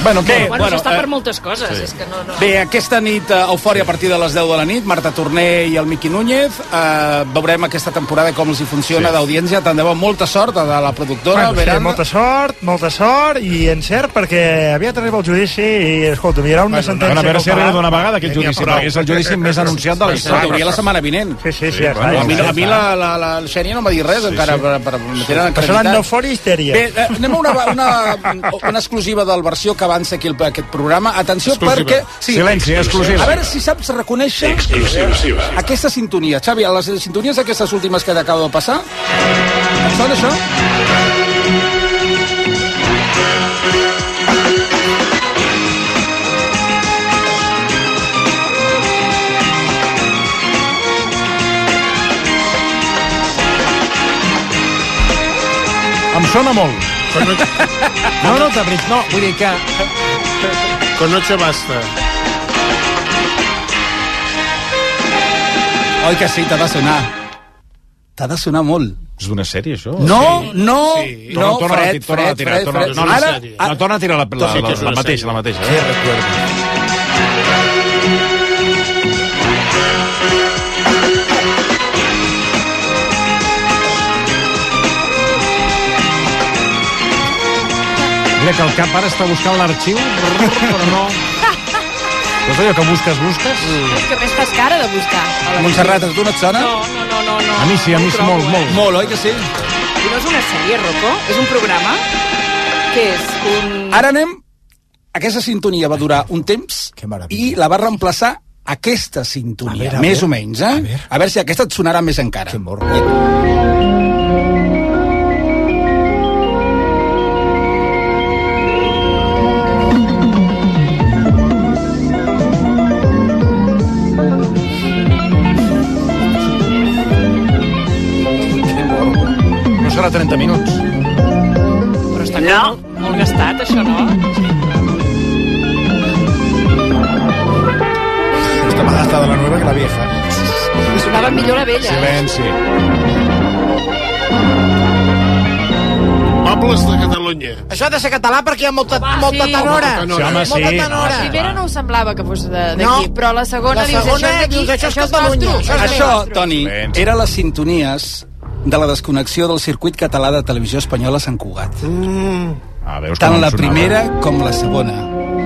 Speaker 20: Bueno,
Speaker 29: Bé,
Speaker 21: Bueno, bueno
Speaker 29: bueno,
Speaker 21: s'està
Speaker 29: eh,
Speaker 21: per moltes coses. És que no, no.
Speaker 29: Bé, aquesta nit eh, eufòria a partir de les 10 de la nit, Marta Torné i el Miqui Núñez. Eh, veurem aquesta temporada com els hi funciona
Speaker 26: Sí.
Speaker 29: d'audiència. Tant de bo, molta sort de la productora.
Speaker 26: Bueno, sí, molta sort, molta sort i encert perquè aviat arriba el judici i, escolta, hi haurà una sentència...
Speaker 20: bueno, a veure si
Speaker 26: cautelar.
Speaker 20: arriba d'una vegada aquest
Speaker 26: N'hi ha
Speaker 20: judici,
Speaker 26: prou.
Speaker 20: perquè és el judici
Speaker 29: eh,
Speaker 20: més anunciat de la història.
Speaker 29: Hauria la setmana vinent.
Speaker 26: Sí, sí, sí, ja està,
Speaker 29: bueno,
Speaker 26: ja
Speaker 29: a mi,
Speaker 26: està,
Speaker 29: a mi
Speaker 26: ja
Speaker 29: la, la, la, la Xènia no m'ha dit res
Speaker 26: Sí,
Speaker 29: encara
Speaker 26: sí.
Speaker 29: per, per, per me tenen
Speaker 26: Però seran
Speaker 29: acreditat.
Speaker 26: d'eufòria i histèria.
Speaker 29: Bé, eh, anem a una, una, una exclusiva del versió que avança aquí el, aquest programa. Atenció
Speaker 26: Exclusiva.
Speaker 29: perquè...
Speaker 26: Silenci, exclusiva.
Speaker 29: A veure si saps reconèixer
Speaker 26: Exclusiva.
Speaker 29: aquesta sintonia. Xavi, a les sintonies aquestes últimes que t'acabo de passar, et sona això?
Speaker 20: Em sona molt. No, no, de veritat, no. Vull dir que...
Speaker 18: Con noche basta.
Speaker 29: Oi que sí, t'ha de sonar. T'ha de sonar molt.
Speaker 20: És d'una sèrie, això?
Speaker 29: No, no, no,
Speaker 20: torna, fred, torna,
Speaker 29: Fred, Fred,
Speaker 20: fred,
Speaker 29: Fred,
Speaker 20: fred, torna,
Speaker 29: Fred.
Speaker 20: No, ara,
Speaker 29: Ara- ah,
Speaker 20: no, torna a tirar la, la,
Speaker 29: Sí,
Speaker 20: la,
Speaker 29: que és
Speaker 20: la,
Speaker 29: una
Speaker 20: mateixa, la mateixa. eh? Sí, recuerdo. Mira que el cap ara està buscant l'arxiu, però
Speaker 29: (laughs)
Speaker 20: no... Però és allò que busques, busques?
Speaker 23: És que a més fas cara de buscar. a la
Speaker 29: Montserrat, a tu no et sona?
Speaker 23: No, no, no, no. no.
Speaker 20: A mi sí, a mi sí, molt, molt.
Speaker 29: Molt, oi que sí?
Speaker 21: eh? I no és una sèrie, Rocco? És un programa? Què és? Un...
Speaker 29: Ara anem... Aquesta sintonia va durar un temps i la va reemplaçar aquesta sintonia,
Speaker 26: A veure, a
Speaker 29: més
Speaker 26: veure.
Speaker 29: o menys, eh? A veure. a veure si aquesta et sonarà més encara. Que morro.
Speaker 20: cada 30 minuts.
Speaker 21: Però està no. molt, molt gastat, això, no?
Speaker 6: Está más gastada la nueva que la vieja.
Speaker 21: Sonava millor la vella. eh?
Speaker 20: Silenci.
Speaker 18: Pobles de Catalunya.
Speaker 12: Això ha de ser català perquè hi ha molta,
Speaker 23: Home,
Speaker 12: molta
Speaker 23: sí.
Speaker 12: tenora.
Speaker 23: Home,
Speaker 20: tenora. Sí, home,
Speaker 12: molta
Speaker 20: sí.
Speaker 12: tenora.
Speaker 23: La primera no us semblava que fos de- d'aquí,
Speaker 12: No.
Speaker 23: però la segona,
Speaker 12: La
Speaker 23: dius,
Speaker 12: segona
Speaker 23: això és d'aquí,
Speaker 12: dius, això és
Speaker 23: nostre,
Speaker 12: Catalunya,
Speaker 23: això és
Speaker 29: Això,
Speaker 23: nostre.
Speaker 29: Toni, era les sintonies de la desconnexió del circuit català de televisió espanyola a Sant Cugat. Mm.
Speaker 20: Ah, veus
Speaker 29: Tant
Speaker 20: com
Speaker 29: la
Speaker 20: sonava?
Speaker 29: primera com la segona.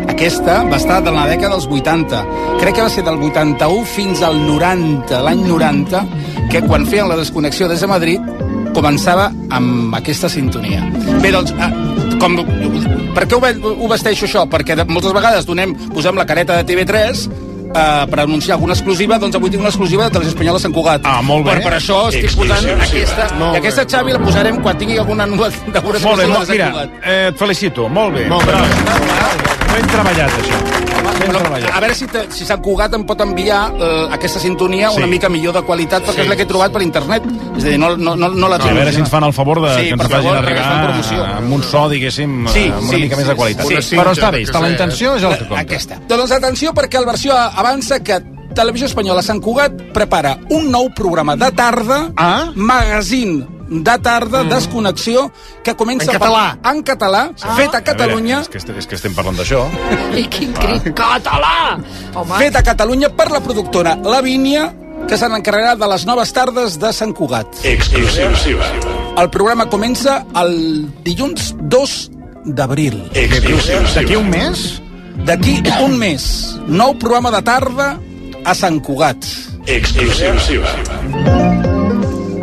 Speaker 29: Aquesta va estar de la dècada dels 80. Crec que va ser del 81 fins al 90, l'any 90, que quan feien la desconnexió des de Madrid començava amb aquesta sintonia. Bé, doncs, ah, com, per què ho, ve- ho vesteixo això? Perquè de- moltes vegades donem, posem la careta de TV3 eh, per anunciar alguna exclusiva, doncs avui tinc una exclusiva de Televisió Espanyola a Sant Cugat. Ah, molt
Speaker 20: bé.
Speaker 29: Per, per això estic posant
Speaker 20: Exclusiva.
Speaker 29: aquesta,
Speaker 20: Molt
Speaker 29: i aquesta, Xavi, la posarem quan tingui alguna novetat d'alguna
Speaker 20: Molt bé,
Speaker 29: exclusiva
Speaker 20: molt,
Speaker 29: de Sant
Speaker 20: mira,
Speaker 29: Cugat.
Speaker 20: eh, et felicito, molt bé. Molt bé. Bravo. Ben treballat, això.
Speaker 29: Però, a veure si, te, si Sant Cugat em pot enviar eh, aquesta sintonia
Speaker 20: Sí.
Speaker 29: una mica millor de qualitat, perquè
Speaker 20: Sí.
Speaker 29: és la que he trobat per internet. És a dir, no, no, no, no la
Speaker 20: A
Speaker 29: trobo.
Speaker 20: veure si ens fan el favor de,
Speaker 29: Sí,
Speaker 20: que ens
Speaker 29: per
Speaker 20: ho facin
Speaker 29: favor,
Speaker 20: arribar
Speaker 29: perquè estan en
Speaker 20: amb un so, diguéssim,
Speaker 29: Sí,
Speaker 20: amb una
Speaker 29: sí,
Speaker 20: mica
Speaker 29: sí,
Speaker 20: més de qualitat.
Speaker 29: sí. Una cinta,
Speaker 20: Però està bé,
Speaker 29: jo
Speaker 20: està
Speaker 29: què
Speaker 20: la
Speaker 29: sé.
Speaker 20: intenció, és el que
Speaker 29: La-
Speaker 20: compta.
Speaker 29: Aquesta. Doncs atenció, perquè el versió avança que Televisió Espanyola a Sant Cugat prepara un nou programa de tarda, ah? magazín de tarda, mm. desconnexió, que comença...
Speaker 20: En
Speaker 29: per-
Speaker 20: català. Ah.
Speaker 29: en català, fet a
Speaker 20: A veure,
Speaker 29: Catalunya...
Speaker 20: és, que, est- és que estem parlant d'això.
Speaker 21: I quin crit català! Home,
Speaker 29: fet a Catalunya per la productora Lavínia, que se n'encarregarà de les noves tardes de Sant Cugat.
Speaker 14: Exclusiva.
Speaker 29: El programa comença el dilluns 2 d'abril.
Speaker 14: Exclusiva.
Speaker 29: D'aquí un mes? D'aquí un mes. Nou programa de tarda a Sant Cugat.
Speaker 14: Exclusiva.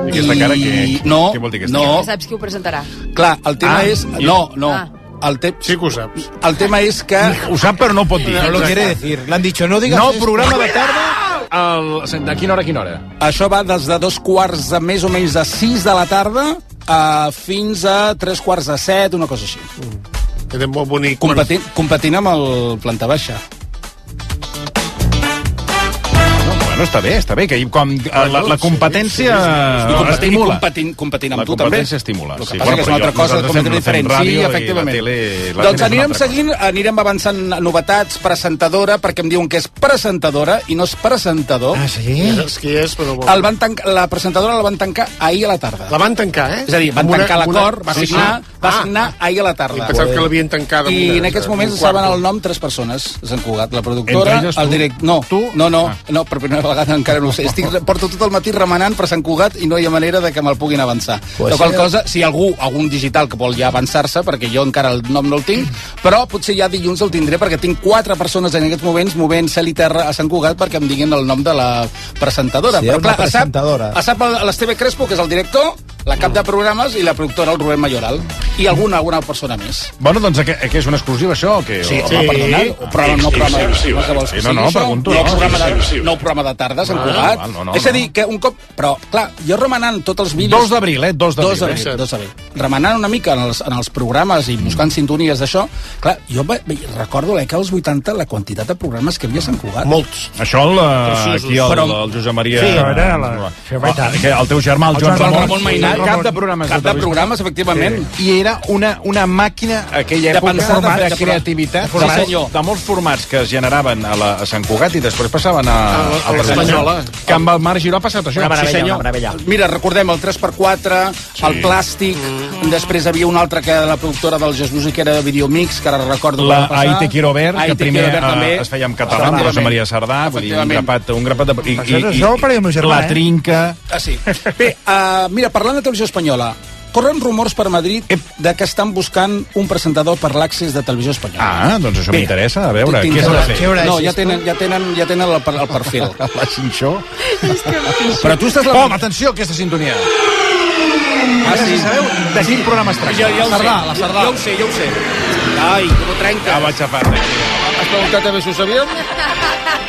Speaker 20: I aquesta cara, què,
Speaker 29: no,
Speaker 20: què vol dir aquesta
Speaker 29: no,
Speaker 20: cara?
Speaker 23: Ja saps qui ho presentarà.
Speaker 29: Clar, el tema
Speaker 20: Ah,
Speaker 29: és...
Speaker 20: i-
Speaker 29: No, no.
Speaker 23: Ah.
Speaker 29: El te... Sí
Speaker 20: que ho saps.
Speaker 29: El tema és que...
Speaker 20: Ho sap, però no ho pot dir.
Speaker 29: No lo quiere decir. Le han dicho, no digas
Speaker 20: Nou
Speaker 29: esto.
Speaker 20: programa de tarda al... de quina hora a quina hora?
Speaker 29: Això va des de dos quarts de més o menys de sis de la tarda a fins a tres quarts de set, una cosa així.
Speaker 20: Mm.
Speaker 18: Era molt bonic.
Speaker 29: Competint, competint amb el planta baixa.
Speaker 20: Bueno, està bé, està bé, que com, eh, la, la competència
Speaker 29: I
Speaker 20: eh,
Speaker 29: competint,
Speaker 20: estimula.
Speaker 29: competint, competint amb
Speaker 20: La
Speaker 29: tu també.
Speaker 20: competència estimula,
Speaker 29: El que
Speaker 20: sí.
Speaker 29: passa
Speaker 20: Bueno,
Speaker 29: que és una
Speaker 20: però
Speaker 29: altra
Speaker 20: jo-
Speaker 29: cosa
Speaker 20: nosaltres fem-
Speaker 29: completament
Speaker 20: fem
Speaker 29: diferent.
Speaker 20: ràdio
Speaker 29: Sí,
Speaker 20: i la
Speaker 29: efectivament.
Speaker 20: tele- la tele és
Speaker 29: doncs
Speaker 20: una
Speaker 29: anirem
Speaker 20: altra cosa.
Speaker 29: seguint, anirem avançant novetats, presentadora, perquè em diuen que és presentadora i no és presentador. Ah,
Speaker 18: Ja saps qui és, però... Bon.
Speaker 29: El van tancar, la presentadora la van tancar ahir a la tarda.
Speaker 18: La van tancar, eh?
Speaker 29: És a dir, van
Speaker 18: Amb una-
Speaker 29: tancar
Speaker 18: amb una-
Speaker 29: l'acord, va
Speaker 18: Sí, sí.
Speaker 29: signar, va
Speaker 18: Ah.
Speaker 29: signar ahir a la tarda.
Speaker 18: I pensava que l'havien tancat amb
Speaker 29: I
Speaker 18: una-
Speaker 29: en aquests moments
Speaker 18: un
Speaker 29: saben
Speaker 18: quarto.
Speaker 29: el nom tres persones, Sant Cugat, la productora,
Speaker 20: Entre elles,
Speaker 29: el
Speaker 20: tu? Ah.
Speaker 29: direct... No, tu? no, no, no, per primera vegada encara no ho sé. Estic, porto tot el matí remenant per Sant Cugat i no hi ha manera de que me'l puguin avançar.
Speaker 6: Pues
Speaker 29: Pues qual
Speaker 6: sí.
Speaker 29: cosa, si algú, algun digital que vol ja avançar-se, perquè jo encara el nom no el tinc, però potser ja dilluns el tindré, perquè tinc quatre persones en aquests moments movent cel i terra a Sant Cugat perquè em diguin el nom de la presentadora.
Speaker 6: Sí,
Speaker 29: però
Speaker 6: era
Speaker 29: clar,
Speaker 6: una
Speaker 29: a sap,
Speaker 6: presentadora.
Speaker 29: a sap el- l'Esteve Crespo, que és el director, la cap de programes i la productora, el Rubén Mayoral. I alguna, alguna persona més.
Speaker 20: Bueno, doncs, que, que és una exclusiva, això, o què?
Speaker 29: Sí,
Speaker 20: O- Ah,
Speaker 29: home, perdona, o programa, no programa, no que vols que
Speaker 20: Sí, no,
Speaker 29: sigui
Speaker 20: no,
Speaker 29: això,
Speaker 20: pregunto,
Speaker 29: no,
Speaker 20: no,
Speaker 29: programa
Speaker 20: sí, sí,
Speaker 29: de,
Speaker 20: sí.
Speaker 29: no programa de tarda, Sant
Speaker 20: Val,
Speaker 29: Cugat.
Speaker 20: val, no, no,
Speaker 29: és a dir, que un cop... Però, clar, jo remenant tots els vídeos...
Speaker 20: 2 d'abril, eh? 2 d'abril,
Speaker 29: Dos d'abril, Mm.
Speaker 20: eh?
Speaker 29: dos d'abril. Remenant una mica en els, en els programes i buscant sintonies d'això, clar, jo ve- ve- recordo l'ECA als 80 la quantitat de programes que hi havia a Sant Cugat. Molts.
Speaker 20: Això el, eh,
Speaker 29: Preciosos.
Speaker 20: aquí el,
Speaker 29: Però-
Speaker 20: el Josep Maria...
Speaker 29: Sí, a veure, la-
Speaker 20: Ah,
Speaker 29: això va i tant.
Speaker 20: que el teu germà, el,
Speaker 29: El
Speaker 20: Joan,
Speaker 29: Joan
Speaker 20: Ramon,
Speaker 29: Ramon Mainat,
Speaker 20: era cap de programes.
Speaker 29: cap de
Speaker 20: televisió.
Speaker 29: programes, efectivament.
Speaker 20: I era una, una màquina, aquella
Speaker 29: De
Speaker 20: època,
Speaker 29: pensar, de fer- de
Speaker 20: de creativitat,
Speaker 29: formar-
Speaker 20: de,
Speaker 29: Sí, senyor.
Speaker 20: de molts formats que es generaven a, la, a Sant Cugat i després passaven a,
Speaker 29: A- a
Speaker 20: Televisió
Speaker 29: l'Espanyola.
Speaker 20: Que amb el Marc Giró ha passat això.
Speaker 29: Sí, senyor. Mira, recordem el 3x4, sí. el plàstic, mm. després havia un altre que era la productora del Jesús i que era de Videomix, que ara recordo
Speaker 20: La
Speaker 29: quan va
Speaker 20: Ahí
Speaker 29: passar.
Speaker 20: te quiero ver,
Speaker 29: Ahí
Speaker 20: que
Speaker 29: te
Speaker 20: primer
Speaker 29: quiero ver,
Speaker 20: eh,
Speaker 29: també.
Speaker 20: es feia en català, amb Rosa
Speaker 29: Efectivament.
Speaker 20: Maria Sardà, vull dir, un
Speaker 29: Efectivament.
Speaker 20: grapat, un grapat de... I,
Speaker 29: Per cert, això ho faria el meu germà,
Speaker 20: la
Speaker 29: eh?
Speaker 20: trinca...
Speaker 29: Ah, sí. Bé, uh, mira, parlant de televisió espanyola, corren rumors per Madrid de que estan buscant un presentador per l'accés de televisió espanyola.
Speaker 20: Ah, doncs això
Speaker 29: Bé,
Speaker 20: m'interessa, a veure, què s'ha de fer?
Speaker 29: No, ja tenen, ja tenen, ja tenen el, per- el perfil.
Speaker 20: (laughs) La Xinxó.
Speaker 29: Però tu estàs...
Speaker 20: Pom, atenció, aquesta sintonia.
Speaker 29: Ah, sí.
Speaker 20: Sabeu de quin programa es tracta?
Speaker 29: Ja, ja ho
Speaker 20: Cerdà,
Speaker 29: sé.
Speaker 20: la Cerdà.
Speaker 29: Ja, ja ho sé, ja ho sé. Ai, com ho trenca.
Speaker 20: Ja vaig a part d'aquí.
Speaker 29: Has preguntat a més si ho sabíem?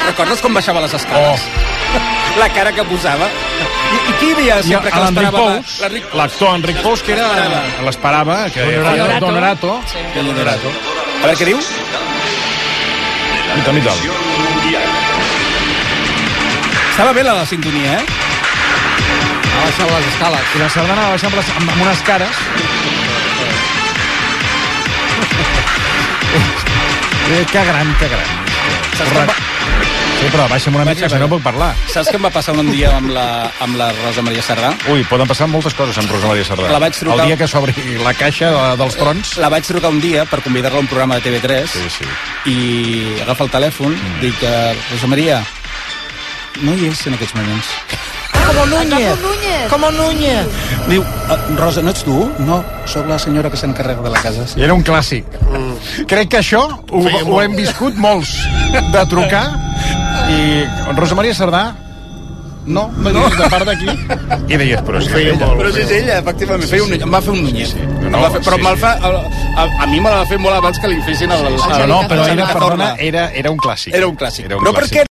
Speaker 29: Recordes com baixava les escales? Oh. La cara que posava. I, i qui hi havia
Speaker 20: I a-
Speaker 29: sempre que
Speaker 20: a l'Enric
Speaker 29: l'esperava?
Speaker 20: Pous, l'actor Enric Pous, que era... L'esperava, que era
Speaker 29: Honorato.
Speaker 20: Donorato.
Speaker 29: Sí. Donorato. A veure què diu.
Speaker 20: I tant, i tant.
Speaker 29: Estava bé la de la sintonia, eh? Ha baixat les escales. I la sardana va baixar amb, les, amb, amb unes (laughs) cares. Eh, que gran, que gran.
Speaker 6: Sí, però baixa'm una mica, que si no puc parlar.
Speaker 29: Saps què em va passar un dia amb la, amb la Rosa Maria Serrà?
Speaker 20: Ui, poden passar moltes coses amb Rosa Maria Sardà.
Speaker 29: La vaig trucar-
Speaker 20: El dia que s'obri la caixa de- dels trons...
Speaker 29: La vaig trucar un dia per convidar-la a un programa de TV3 sí, sí. i agafa el telèfon, mm. dic, eh, Rosa Maria, no hi és en aquests moments.
Speaker 12: Como Núñez. Como Núñez.
Speaker 29: Diu, "Eh, Rosa, no ets tu? No, sóc la senyora que s'encarrega de la casa. Sí.
Speaker 20: Era un clàssic. Mm. Crec que això ho,
Speaker 29: Feia
Speaker 20: ho
Speaker 29: molt.
Speaker 20: hem viscut molts, de trucar i Rosa Maria Sardà no, no, no. de part d'aquí. I deies, però si és ella.
Speaker 7: Però si és ella, efectivament.
Speaker 29: Feia un, em va fer un Núñez. Sí,
Speaker 7: No, no, fer, però sí, sí. Fa, a, a, mi me la va fer molt abans que li fessin el...
Speaker 20: Ah, No, no, però era, perdona, era, era un clàssic.
Speaker 7: Era un clàssic.
Speaker 20: Era un
Speaker 7: no
Speaker 20: clàssic.
Speaker 7: perquè